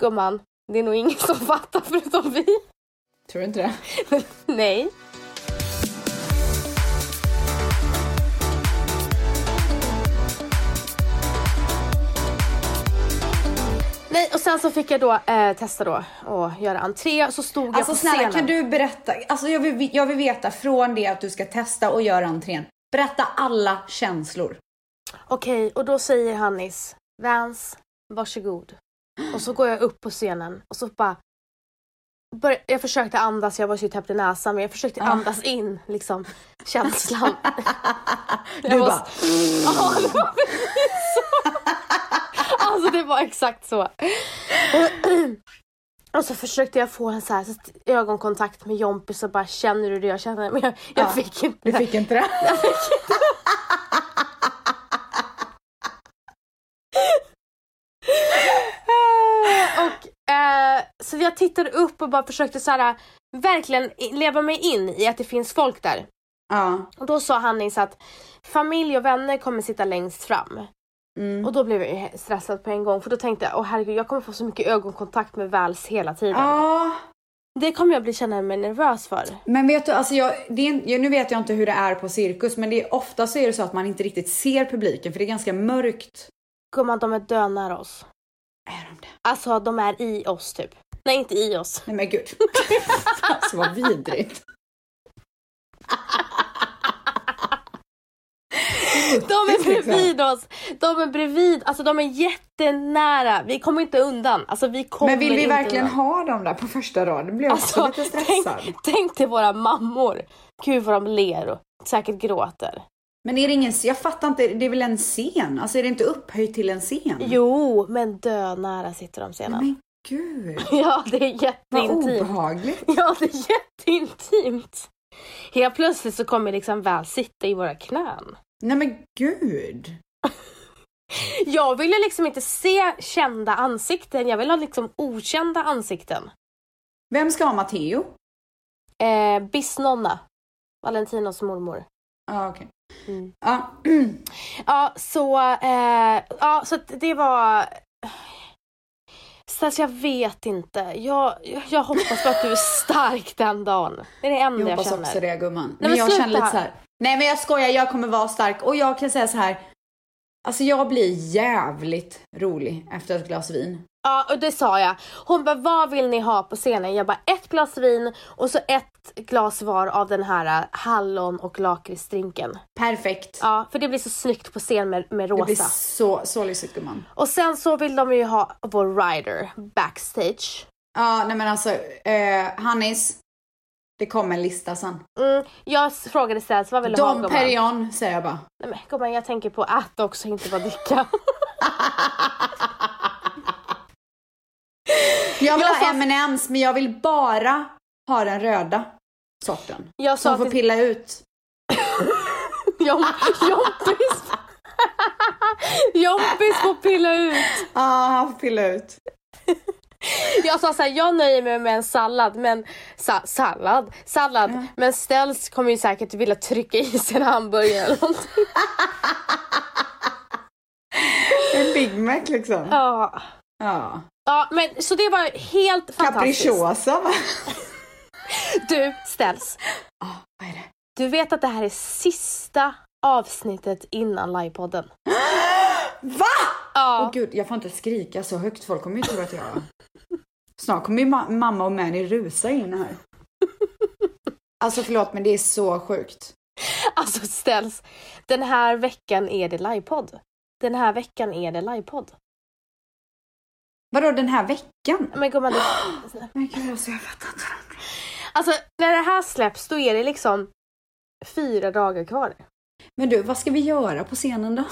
B: Gumman, det är nog ingen som fattar förutom vi.
A: Tror du inte det?
B: Nej. Nej, och sen så fick jag då eh, testa då och göra entré, så stod
A: Alltså
B: jag på
A: snälla
B: scenen.
A: kan du berätta? Alltså jag vill, jag vill veta från det att du ska testa och göra entrén. Berätta alla känslor.
B: Okej, och då säger Hannis, Vans, varsågod. Och så går jag upp på scenen och så bara börj- jag försökte andas, jag var så täppt i näsan, men jag försökte andas in liksom känslan.
A: Du
B: var-
A: bara,
B: Ja, det var precis så. Alltså det var exakt så. Och så försökte jag få en så här, så att ögonkontakt med Jompis och bara känner du det jag känner? Men jag, jag
A: Ja,
B: fick inte.
A: du fick inte det?
B: Och, eh, så jag tittade upp och bara försökte så här, verkligen leva mig in i att det finns folk där.
A: Ja.
B: Och då sa Hannis att familj och vänner kommer sitta längst fram.
A: Mm.
B: Och då blev jag ju he- stressad på en gång för då tänkte jag, åh herregud jag kommer få så mycket ögonkontakt med Väls hela tiden.
A: Ja,
B: Det kommer jag bli känna mig nervös för.
A: men vet du, alltså jag, det är, jag, nu vet jag inte hur det är på cirkus, men det är, ofta så är det så att man inte riktigt ser publiken för det är ganska mörkt.
B: Gumman de är döda oss.
A: Är de det?
B: Alltså de är i oss typ. Nej inte i oss.
A: Nej men gud. alltså vad vidrigt.
B: De är
A: Liksom.
B: bredvid oss! De är bredvid, alltså de är jättenära. Vi kommer inte undan. Alltså vi kommer
A: Men vill vi
B: inte
A: verkligen
B: undan.
A: ha dem där på första raden? Blev jag också
B: Alltså,
A: lite stressad.
B: tänk, tänk till våra mammor. Gud vad de ler och säkert gråter.
A: Men är det ingen, jag fattar inte, det är väl en scen? Alltså är det inte upphöjt till en scen?
B: Jo, men dö nära sitter de
A: Nej,
B: sedan.
A: Men gud,
B: Ja, det är
A: vad
B: jätteintimt.
A: obehagligt.
B: Ja, det är jätteintimt. Helt plötsligt så kommer liksom väl sitta i våra knän.
A: Nej men gud.
B: Jag ville liksom inte se kända ansikten, jag vill ha liksom okända ansikten.
A: Vem ska ha Matteo?
B: Eh, Bisnonna, Valentinos mormor.
A: Ja okej.
B: Mm.
A: Ja.
B: Ja, så, eh, ja, så att det var... Så alltså, jag vet inte. Jag, jag hoppas på att du är stark den dagen. Det är det enda
A: Jag
B: jag,
A: hoppas
B: känner.
A: också det gumman. men,
B: men
A: jag
B: sluta.
A: känner lite så här. Nej men jag skojar, jag kommer vara stark och jag kan säga så här. Alltså jag blir jävligt rolig efter ett glas vin.
B: Ja, och det sa jag. Hon bara, vad vill ni ha på scenen? Jag bara, ett glas vin och så ett glas var av den här äh, hallon och lakritsdrinken.
A: Perfekt.
B: Ja, för det blir så snyggt på scen med, med rosa.
A: det blir så, så lyxigt gumman.
B: Och sen så vill de ju ha vår rider backstage.
A: Ja, nej men alltså, eh, Hannis. Det kommer en lista sen.
B: Mm, jag frågade Stas vad vill du ha
A: Dom
B: gumman?
A: Perignon säger jag bara.
B: Nej men gumman jag tänker på att också, inte bara dricka.
A: Jag vill
B: Jag
A: ha
B: sa-
A: M&M's men jag vill bara ha den röda sorten.
B: Jag
A: Som
B: sa
A: får
B: till
A: pilla ut.
B: Jom- Jompis. Jompis får pilla ut.
A: Ja, ah, han får pilla ut.
B: Jag sa såhär, jag nöjer mig med en sallad, men sa- sallad, sallad, men Ställs kommer ju säkert vilja trycka i sig en hamburgare eller någonting.
A: En Big Mac liksom. Ja.
B: Ja. Ja men så det var helt fantastiskt.
A: Capricciosa va?
B: Du Ställs,
A: Ah, vad är det?
B: du vet att det här är sista avsnittet innan livepodden.
A: Va?
B: Ja.
A: Åh gud, jag får inte skrika så högt. Folk kommer ju tro att jag... Snart kommer ju ma- mamma och Mani rusa in här. Alltså förlåt men det är så sjukt.
B: Alltså ställs, den här veckan är det livepodd. Den här veckan är det livepodd.
A: Vadå den här veckan?
B: Men gumman, det...
A: Men gud alltså jag fattar inte.
B: alltså när det här släpps då är det liksom fyra dagar kvar.
A: Men du, vad ska vi göra på scenen då?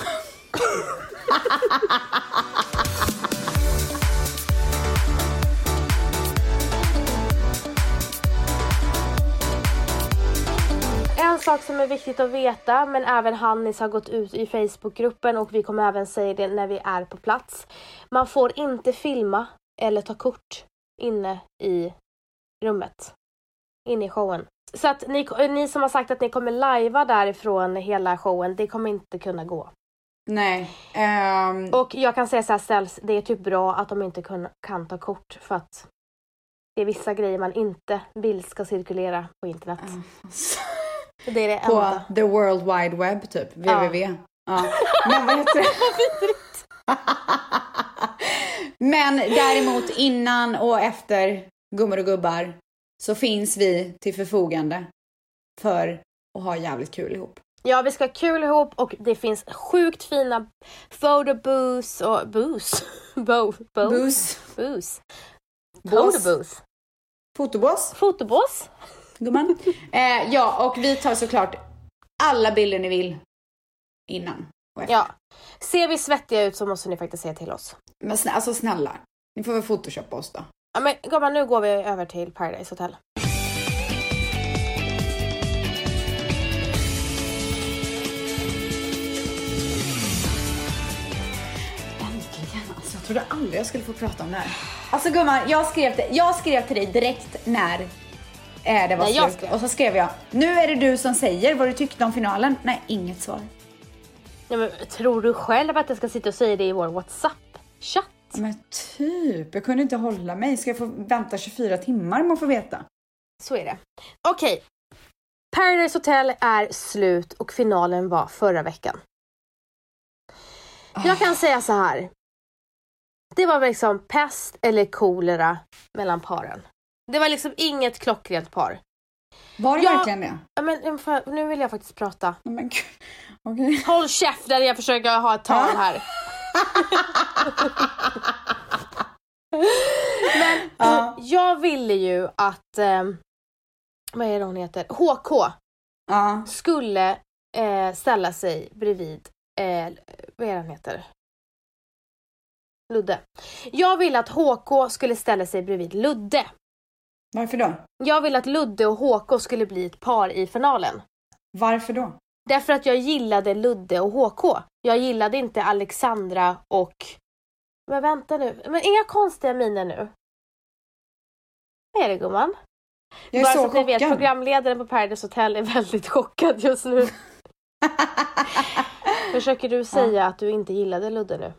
B: En sak som är viktigt att veta, men även Hannis har gått ut i Facebookgruppen och vi kommer även säga det när vi är på plats. Man får inte filma eller ta kort inne i rummet. Inne i showen. Så att ni, ni som har sagt att ni kommer lajva därifrån hela showen, det kommer inte kunna gå.
A: Nej. ehm,
B: Och jag kan säga så här ställs, det är typ bra att de inte kun, kan ta kort för att det är vissa grejer man inte vill ska cirkulera på internet. Det är det
A: på
B: enda.
A: the world wide web typ. www. Ja. Men vad heter det? Men däremot innan och efter gummor och gubbar så finns vi till förfogande för att ha jävligt kul ihop.
B: Ja, vi ska ha kul ihop och det finns sjukt fina photobooths och boos. Bo, bo,
A: Bus.
B: boos.
A: Bås.
B: Photobooths.
A: Fotobås,
B: Fotobås.
A: gumman. eh, ja, och vi tar såklart alla bilder ni vill innan och efter.
B: Ja. Ser vi svettiga ut så måste ni faktiskt säga till oss.
A: Men snä- alltså snälla, ni får väl photoshoppa oss då.
B: Ja, men gumman, nu går vi över till Paradise Hotel.
A: Äntligen! Alltså, jag trodde aldrig jag skulle få prata om det här. Alltså gumman, jag skrev till, jag skrev till dig direkt när eh, det var
B: Nej, jag
A: slut.
B: skrev.
A: Och så skrev jag, nu är det du som säger vad du tyckte om finalen. Nej, inget svar.
B: Ja, men, tror du själv att jag ska sitta och säga det i vår WhatsApp-chatt?
A: Men typ, jag kunde inte hålla mig. Ska jag få vänta 24 timmar om att få veta?
B: Så är det. Okej. Paradise Hotel är slut och finalen var förra veckan. Jag kan säga så här. Det var liksom pest eller kolera mellan paren. Det var liksom inget klockrent par.
A: Var det
B: Ja.
A: verkligen det?
B: Ja, Men nu får jag- nu vill jag faktiskt prata.
A: Nej, Men gud, okej.
B: Håll käften, jag försöker ha ett tal här. Men
A: Ja.
B: jag ville ju att, ehm, vad är det hon heter? HK.
A: Ja.
B: skulle eh, ställa sig bredvid, eh, vad är han heter? Ludde. Jag ville att HK skulle ställa sig bredvid Ludde.
A: Varför då?
B: Jag ville att Ludde och HK skulle bli ett par i finalen.
A: Varför då?
B: Därför att jag gillade Ludde och HK. Jag gillade inte Alexandra och... Men vänta nu, men är jag konstiga miner nu? Vad är det gumman?
A: Jag är
B: Bara
A: så
B: så att ni
A: chockad.
B: vet, programledaren på Paradise Hotel är väldigt chockad just nu. Försöker du säga att du inte gillade Ludde nu?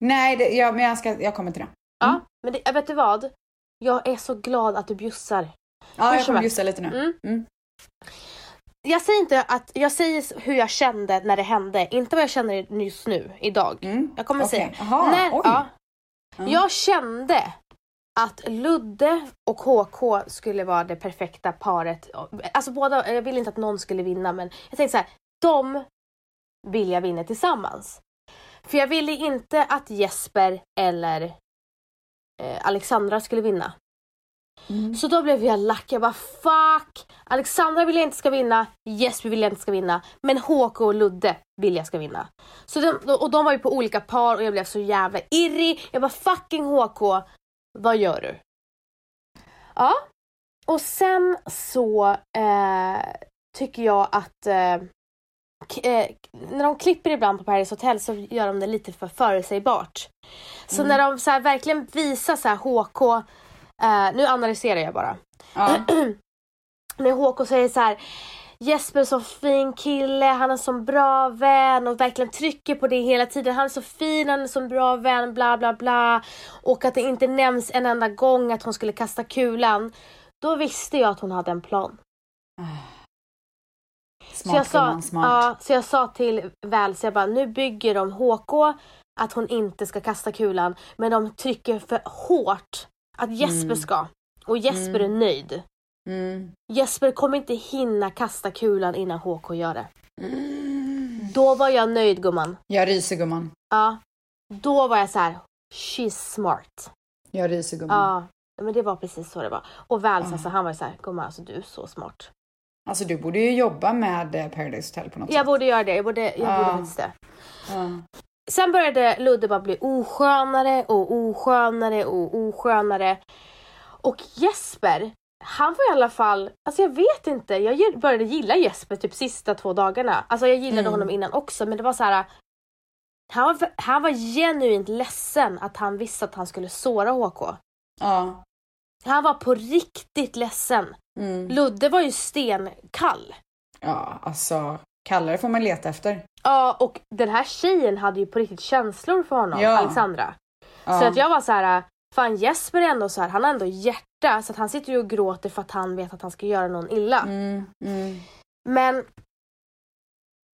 A: Nej, det, jag, men jag, ska, jag kommer till det.
B: Ja, men det, vet du vad? Jag är så glad att du bjussar.
A: Ja,
B: Hur
A: jag
B: som
A: kommer
B: helst.
A: bjussa lite nu.
B: Mm.
A: Mm.
B: Jag säger inte att, jag säger hur jag kände när det hände, inte vad jag känner just nu, idag.
A: Mm.
B: Jag kommer
A: Okej.
B: säga.
A: Jaha,
B: Nej,
A: oj.
B: ja.
A: Ja.
B: Jag kände att Ludde och HK skulle vara det perfekta paret. Alltså båda, jag ville inte att någon skulle vinna men jag tänkte så här, de vill jag vinna tillsammans. För jag ville inte att Jesper eller eh, Alexandra skulle vinna.
A: Mm.
B: Så då blev jag lack. Jag bara fuck! Alexandra vill jag inte ska vinna. Jesper vill jag inte ska vinna. Men HK och Ludde vill jag ska vinna. Så de, och de var ju på olika par och jag blev så jävla irrig. Jag bara fucking HK, vad gör du? Ja. Och sen så eh, tycker jag att eh, k- eh, när de klipper ibland på Paradise Hotel så gör de det lite för förutsägbart. Så när de så här, verkligen visar så här HK, eh, nu analyserar jag bara.
A: Ja.
B: När HK säger så här Jesper är så fin kille, han är så bra vän och verkligen trycker på det hela tiden. Han är så fin, han är så bra vän, bla bla bla. Och att det inte nämns en enda gång att hon skulle kasta kulan. Då visste jag att hon hade en plan.
A: Smart
B: så, jag sa,
A: gumman, smart.
B: ja, så jag sa till Väls, jag bara, nu bygger de HK att hon inte ska kasta kulan. Men de trycker för hårt att Jesper
A: Mm.
B: ska. Och Jesper
A: Mm.
B: är nöjd.
A: Mm.
B: Jesper kommer inte hinna kasta kulan innan HK gör det.
A: Mm.
B: Då var jag nöjd gumman.
A: Jag ryser gumman.
B: Ja. Då var jag så här. she's smart.
A: Jag ryser gumman.
B: Ja. Men det var precis så det var. Och Vals
A: Mm. Ja.
B: alltså, han var ju så här, gumman alltså du är så smart.
A: Alltså du borde ju jobba med eh, Paradise Hotel på något
B: Jag
A: sätt.
B: borde göra det, jag borde, jag
A: Ja.
B: borde faktiskt det.
A: Ja.
B: Sen började Ludde bara bli oskönare och oskönare och oskönare. Och Jesper, han var i alla fall, alltså jag vet inte, jag gi- började gilla Jesper typ sista två dagarna. Alltså jag gillade
A: Mm.
B: honom innan också men det var så här. Han var, han var genuint ledsen att han visste att han skulle såra HK.
A: ja.
B: Han var på riktigt ledsen.
A: Mm.
B: Ludde var ju stenkall.
A: Ja, alltså kallare får man leta efter.
B: Ja, och den här tjejen hade ju på riktigt känslor för honom,
A: Ja.
B: Alexandra.
A: Ja.
B: Så att jag var så här, fan Jesper är ändå så här, han har ändå hjärta så att han sitter ju och gråter för att han vet att han ska göra någon illa.
A: Mm, mm.
B: Men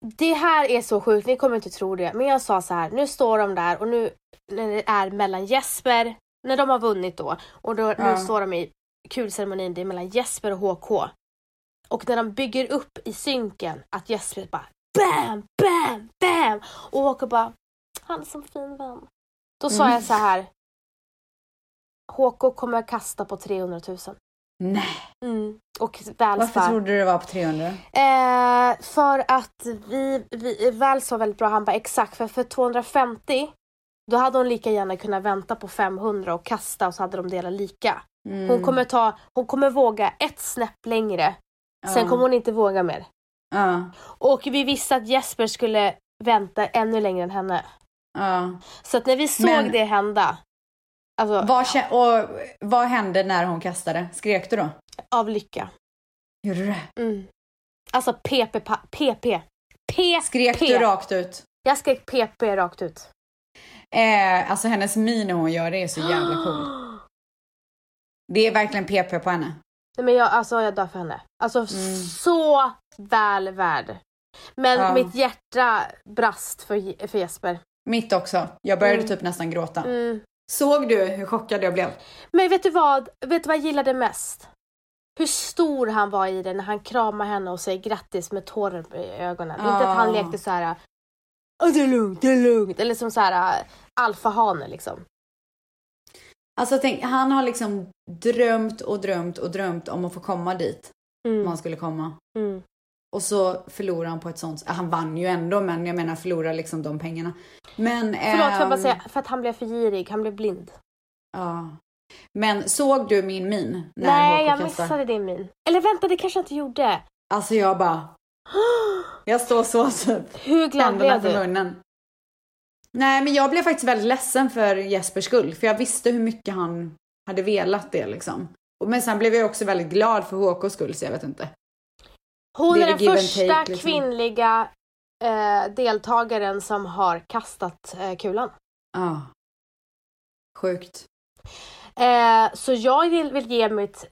B: det här är så sjukt, ni kommer inte tro det. Men jag sa så här, nu står de där och nu när det är mellan Jesper, när de har vunnit då och då,
A: Ja.
B: nu står de i kulceremonin, det är mellan Jesper och HK. Och när de bygger upp i synken att Jesper bara BAM, BAM, BAM och HK bara han är som fin vän. Då sa
A: Mm.
B: jag så här HK kommer att kasta på 300 000.
A: Nej,
B: Mm. Och väl
A: varför
B: bara-
A: trodde du det var på 300?
B: Eh, för att vi, vi väl sa väldigt bra, han bara exakt, för, för 250 då hade hon lika gärna kunnat vänta på 500 och kasta och så hade de delat lika.
A: Mm.
B: Hon, kommer ta, hon kommer våga ett snäpp längre, sen
A: Ja.
B: kommer hon inte våga mer.
A: Ja,
B: Och vi visste att Jesper skulle vänta ännu längre än henne.
A: ja.
B: Så att när vi såg
A: Men-
B: det hända, alltså
A: Vad, kä- och, vad hände när hon kastade? Skrek du då?
B: av lycka.
A: Gjorde du det?
B: Mm. Alltså PP, pa- PP. PP.
A: Skrek du rakt ut?
B: Jag skrek PP rakt ut.
A: Eh, alltså hennes min när hon gör det är så jävla cool. Det är verkligen PP på henne.
B: Nej, men jag, alltså, jag dör för henne. Alltså så väl värd. Men
A: Mm. Ja.
B: mitt hjärta brast för, Je- för Jesper.
A: Mitt också. Jag började
B: Mm.
A: typ nästan gråta.
B: Mm.
A: Såg du hur chockad jag blev?
B: Men vet du vad? Vet du vad jag gillade mest? Hur stor han var i det när han kramar henne och säger grattis med tårar i ögonen.
A: Ja.
B: Inte att han lekte så här. "Åh, Det är lugnt, det är lugnt. Eller som så här äh, alfahane liksom.
A: Alltså tänk, han har liksom drömt och drömt och drömt om att få komma dit. Om
B: Mm.
A: han skulle komma.
B: Mm.
A: Och så förlorar han på ett sånt äh, Han vann ju ändå men jag menar förlorar liksom de pengarna. Men...
B: Förlåt för,
A: ehm,
B: jag bara säga, för att han blev för girig, han blev blind.
A: Ja. Men såg du min min? När
B: Nej,
A: HK
B: jag
A: kastade?
B: missade din min. Eller vänta, det kanske jag inte gjorde.
A: Alltså jag bara... Jag står så typ.
B: Hur glad
A: Händerna
B: blev
A: för
B: du?
A: munnen. Nej men jag blev faktiskt väldigt ledsen för Jespers skull. För jag visste hur mycket han hade velat det liksom. Och- Men sen blev jag också väldigt glad för HKs skull så jag vet inte.
B: Hon
A: Det
B: är
A: är
B: den
A: give and
B: första
A: take, liksom.
B: kvinnliga eh, deltagaren som har kastat eh, kulan.
A: Ja. Ah. Sjukt.
B: Eh, så jag vill, vill ge mitt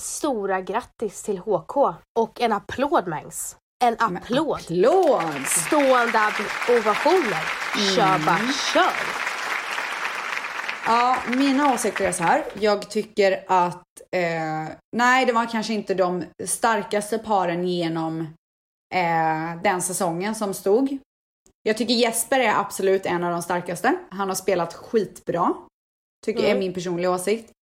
B: stora grattis till HK och en applåd Mangs. En
A: Men
B: applåd.
A: Applåd!
B: Stående ab- ovationer.
A: Mm.
B: Kör bara, kör.
A: Ja, mina åsikter är så här. Jag tycker att, eh, nej det var kanske inte de starkaste paren genom eh, den säsongen som stod. Jag tycker Jesper är absolut en av de starkaste. Han har spelat skitbra. Tycker är min personliga åsikt.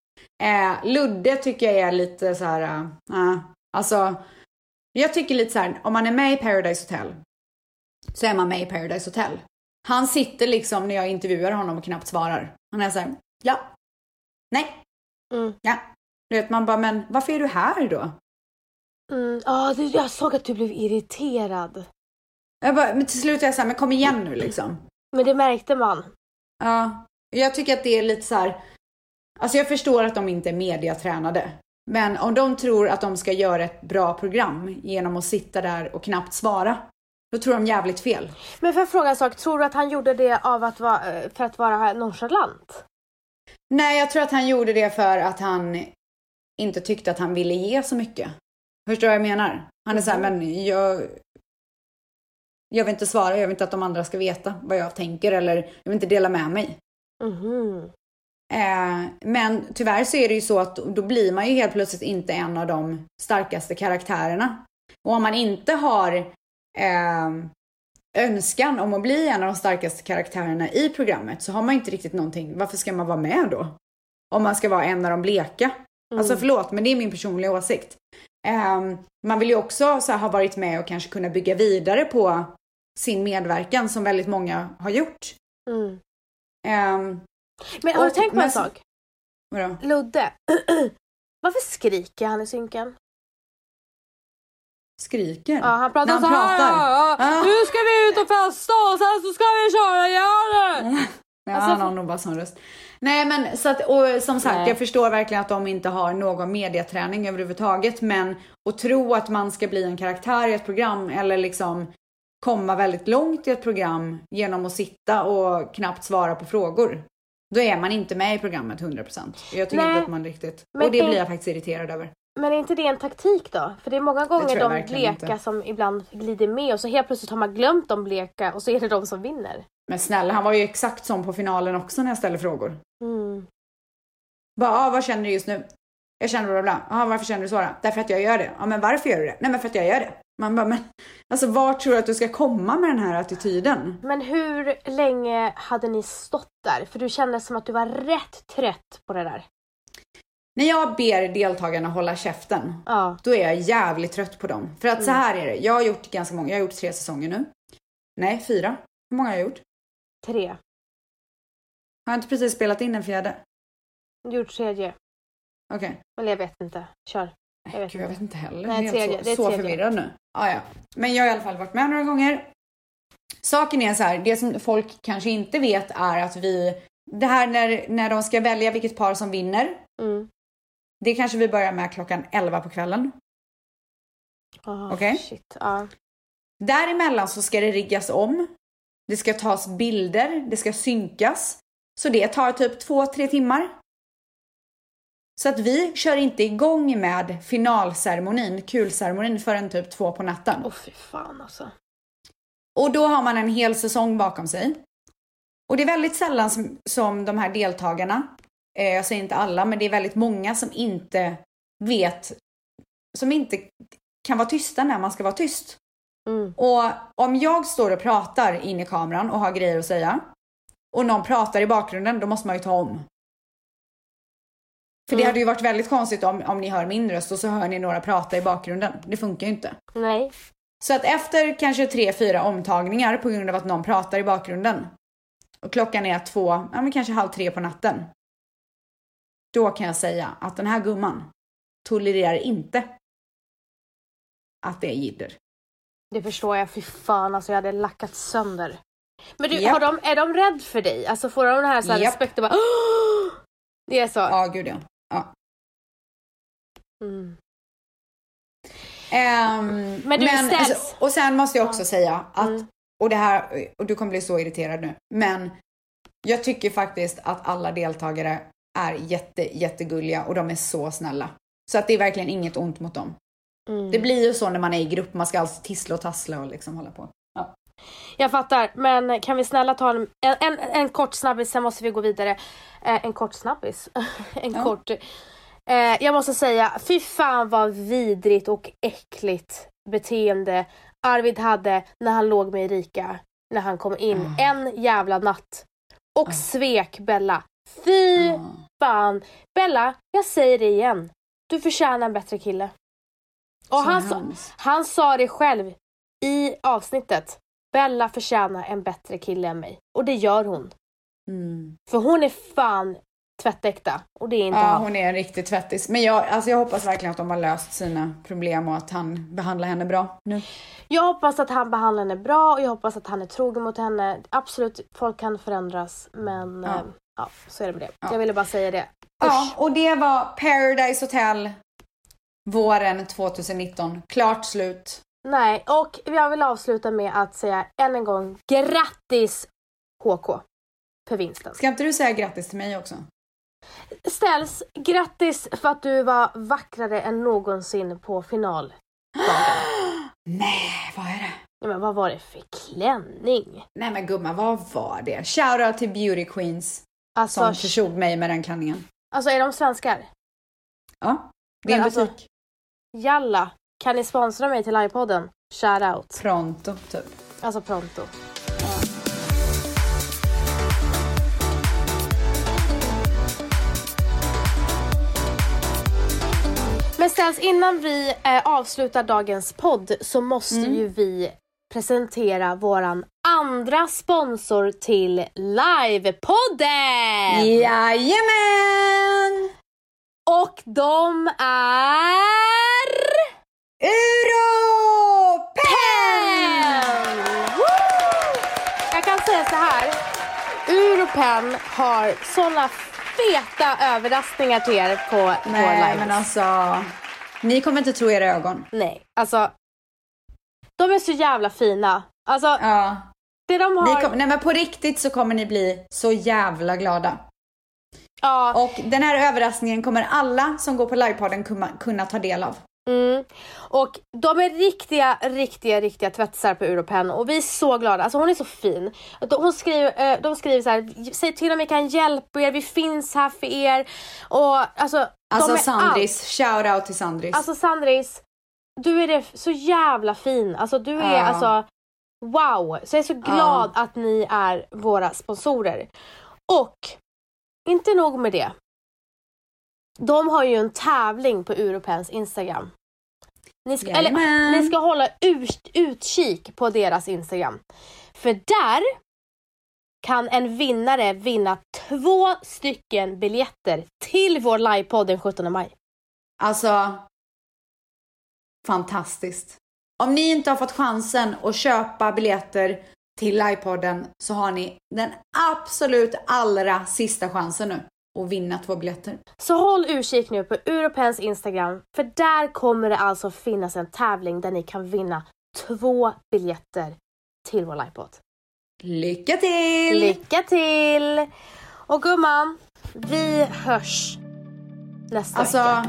A: Eh, Ludde tycker jag är lite så här, eh, alltså, jag tycker lite så här, om man är med i Paradise Hotel så är man med i Paradise Hotel. Han sitter liksom när jag intervjuar honom och knappt svarar. Han är så här, ja, nej,
B: Mm.
A: ja. Du vet, man bara, men varför är du här då?
B: Mm. Ah, du, jag såg att du blev irriterad.
A: Jag bara, men till slut är jag så här, men kom igen nu liksom.
B: Men det märkte man.
A: Ja, jag tycker att det är lite så här. Alltså jag förstår att de inte är mediatränade. Men om de tror att de ska göra ett bra program genom att sitta där och knappt svara, då tror de jävligt fel.
B: Men får jag fråga en sak? Tror du att han gjorde det av att va, eh, för att vara nonchalant?
A: Nej, jag tror att han gjorde det för att han inte tyckte att han ville ge så mycket. Förstår du vad jag menar? Han är så här, men jag... Jag vill inte svara, jag vill inte att de andra ska veta vad jag tänker eller jag vill inte dela med mig.
B: Mhm.
A: Eh, men tyvärr så är det ju så att då blir man ju helt plötsligt inte en av de starkaste karaktärerna. Och om man inte har eh, önskan om att bli en av de starkaste karaktärerna i programmet så har man inte riktigt någonting. Varför ska man vara med då? Om man ska vara en av de bleka. Alltså förlåt, men det är min personliga åsikt. Eh, man vill ju också så här, ha varit med och kanske kunna bygga vidare på sin medverkan som väldigt många har gjort.
B: Mm.
A: Eh,
B: Men har du
A: Och-
B: tänkt på en
A: men-
B: sak?
A: vadå?
B: Ludde. Varför skriker han i synken?
A: Skriker?
B: Ja, han pratar
A: När
B: så här. ja, ja.
A: Ah.
B: Nu ska vi ut och festa och sen så ska vi köra ihjäl det.
A: Ja,
B: Alltså,
A: han har nog bara sån röst. Nej men så att, och som sagt
B: Nej.
A: jag förstår verkligen att de inte har någon mediaträning överhuvudtaget men att tro att man ska bli en karaktär i ett program eller liksom komma väldigt långt i ett program genom att sitta och knappt svara på frågor. Då är man inte med i programmet 100%. Jag tycker
B: Nej.
A: inte att man riktigt,
B: Men
A: och det
B: det-
A: blir jag faktiskt irriterad över.
B: Men är inte det en taktik då? För det är många gånger
A: tror jag
B: de bleka
A: verkligen inte.
B: som ibland glider med och så helt plötsligt har man glömt de bleka och så är det de som vinner.
A: Men snälla han var ju exakt sån på finalen också när jag ställde frågor.
B: Mm.
A: Bara, ah, vad känner du just nu? Jag känner bla bla. Ah, varför känner du så då? Därför att jag gör det. Ja, ah, men varför gör du det? Nej, men för att jag gör det. Man bara, men alltså var tror du att du ska komma med den här attityden?
B: Men hur länge hade ni stått där? För du kände som att du var rätt trött på det där.
A: När jag ber deltagarna hålla käften,
B: Ja.
A: då är jag jävligt trött på dem. För att så här är det. Jag har gjort ganska många. Jag har gjort tre säsonger nu. Nej, fyra. Hur många har jag gjort?
B: Tre.
A: Har jag inte precis spelat in den fjärde?
B: Gjort tredje.
A: Okej.
B: Eller jag vet inte. Kör. Jag vet
A: Gud, jag vet inte heller.
B: Nej,
A: jag är
B: tredje.
A: helt
B: Det är
A: så, så
B: tredje.
A: förvirrad nu. Ah, ja. Men jag har i alla fall varit med några gånger. Saken är så här, det som folk kanske inte vet är att vi, det här när, när de ska välja vilket par som vinner,
B: Mm.
A: det kanske vi börjar med klockan 11 på kvällen.
B: Oh,
A: Okej.
B: Shit. Ja.
A: Däremellan så ska det riggas om. Det ska tas bilder, det ska synkas. Så det tar typ två, tre timmar. Så att vi kör inte igång med finalceremonin, kulceremonin, förrän typ två på natten.
B: Åh fy fan alltså.
A: Och då har man en hel säsong bakom sig. Och det är väldigt sällan som, som de här deltagarna, eh, jag säger inte alla, men det är väldigt många som inte vet, som inte kan vara tysta när man ska vara tyst.
B: Mm.
A: Och om jag står och pratar in i kameran och har grejer att säga och någon pratar i bakgrunden, då måste man ju ta om. För det
B: Mm.
A: hade ju varit väldigt konstigt om, om ni hör min röst och så hör ni några prata i bakgrunden. Det funkar ju inte.
B: Nej.
A: Så att efter kanske tre, fyra omtagningar på grund av att någon pratar i bakgrunden och klockan är två, ja men kanske halv tre på natten. Då kan jag säga att den här gumman tolererar inte att det är jidder.
B: Det förstår jag. Fy fan alltså. Jag hade lackat sönder. Men du,
A: Japp.
B: har de, är de rädd för dig? Alltså får de den här, så här
A: Japp.
B: respekten bara "Åh!" Det är så?
A: Ja, gud ja. ja.
B: Mm.
A: Ehm,
B: Men du ställs.
A: alltså, och sen måste jag också säga att,
B: Mm.
A: och det här, och du kommer bli så irriterad nu, men jag tycker faktiskt att alla deltagare är jätte, jättegulliga och de är så snälla. Så att det är verkligen inget ont mot dem.
B: Mm.
A: Det blir ju så när man är i grupp, man ska alltid tissla och tassla och liksom hålla på. Ja.
B: Jag fattar, men kan vi snälla ta en, en, en, en kort snabbis, sen måste vi gå vidare. Eh, en kort snabbis? en
A: Ja.
B: kort... Eh, jag måste säga, fy fan vad vidrigt och äckligt beteende Arvid hade när han låg med Erika. När
A: Ah.
B: han kom in en jävla natt. Och svek Bella. Fy fan. Bella, jag säger det igen. Du förtjänar en bättre kille. Och
A: Som
B: han, sa,
A: hans.
B: han sa det själv i avsnittet. Bella förtjänar en bättre kille än mig. Och det gör hon.
A: Mm.
B: För hon är fan tvättäkta. Och det är inte
A: Ja,
B: han.
A: hon är en riktig tvättis. Men jag, alltså jag hoppas verkligen att de har löst sina problem och att han behandlar henne bra nu.
B: Jag hoppas att han behandlar henne bra och jag hoppas att han är trogen mot henne. Absolut, folk kan förändras men
A: Ja.
B: ja, ja så är det med det.
A: Ja.
B: Jag ville bara säga det.
A: Ja, och det var Paradise Hotel våren 2019. Klart slut.
B: Nej, och jag vill avsluta med att säga än en gång grattis HK för vinsten.
A: Ska inte du säga grattis till mig också?
B: Ställs, grattis för att du var vackrare än någonsin på final.
A: Nej, vad är det?
B: Ja, men vad var det för klänning?
A: Nej men gumman, vad var det? Shoutout till Beauty Queens som
B: Alltså,
A: försåg mig med den klänningen.
B: alltså är de svenskar?
A: Ja, det är en
B: Men alltså-
A: butik.
B: Jalla, kan ni sponsra mig till livepodden? Shout out.
A: Pronto, typ.
B: Alltså pronto. Men ställs innan vi eh, avslutar dagens podd så måste ju vi presentera våran andra sponsor till livepodden!
A: Jajamän!
B: Och de är...
A: Europen!
B: Jag kan säga så här. Europen har såna feta överraskningar till er på vår
A: Nej
B: live.
A: men alltså, ni kommer inte tro era ögon.
B: Nej, alltså. De är så jävla fina. Alltså,
A: Ja.
B: det de
A: Ni
B: har...
A: kom, nej men på riktigt så kommer ni bli så jävla glada.
B: ja,
A: Och den här överraskningen kommer alla som går på livepodden kunna, kunna ta del av.
B: Mm. Och de är riktiga, riktiga, riktiga tvättisar på Europen och vi är så glada. Alltså hon är så fin. Att de- Hon skriver, eh, de skriver så här, säg till om vi kan hjälpa er, vi finns här för er. Och alltså,
A: Alltså
B: de är allt.
A: Sandris, shoutout till Sandris.
B: Alltså Sandris, du är det så jävla fin. Alltså du är
A: Ja.
B: alltså, wow. Så jag är så glad att ni är våra sponsorer. Och, inte nog med det. De har ju en tävling på Europens Instagram. Ni ska, eller,
A: Jajamän.
B: ni ska hålla ut, utkik på deras Instagram. För där kan en vinnare vinna två stycken biljetter till vår livepodd den 17 maj.
A: Alltså, fantastiskt. Om ni inte har fått chansen att köpa biljetter till livepodden så har ni den absolut allra sista chansen nu att vinna två biljetter.
B: Så håll utkik nu på Europens Instagram för där kommer det alltså finnas en tävling där ni kan vinna två biljetter till vår livepodd.
A: Lycka till!
B: Lycka till! Och gumman, vi hörs nästa
A: alltså,
B: vecka.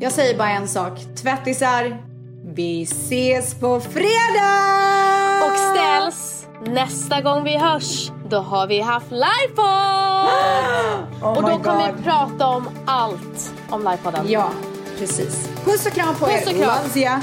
A: jag säger bara en sak. Tvättisar, vi ses på fredag!
B: Och ställs, nästa gång vi hörs, då har vi haft livepodd!
A: Oh
B: Och då
A: my
B: kommer
A: God.
B: vi prata om allt om livepodden.
A: Ja, precis. Puss och kram på
B: Puss
A: er.
B: och kram.
A: Loves ya.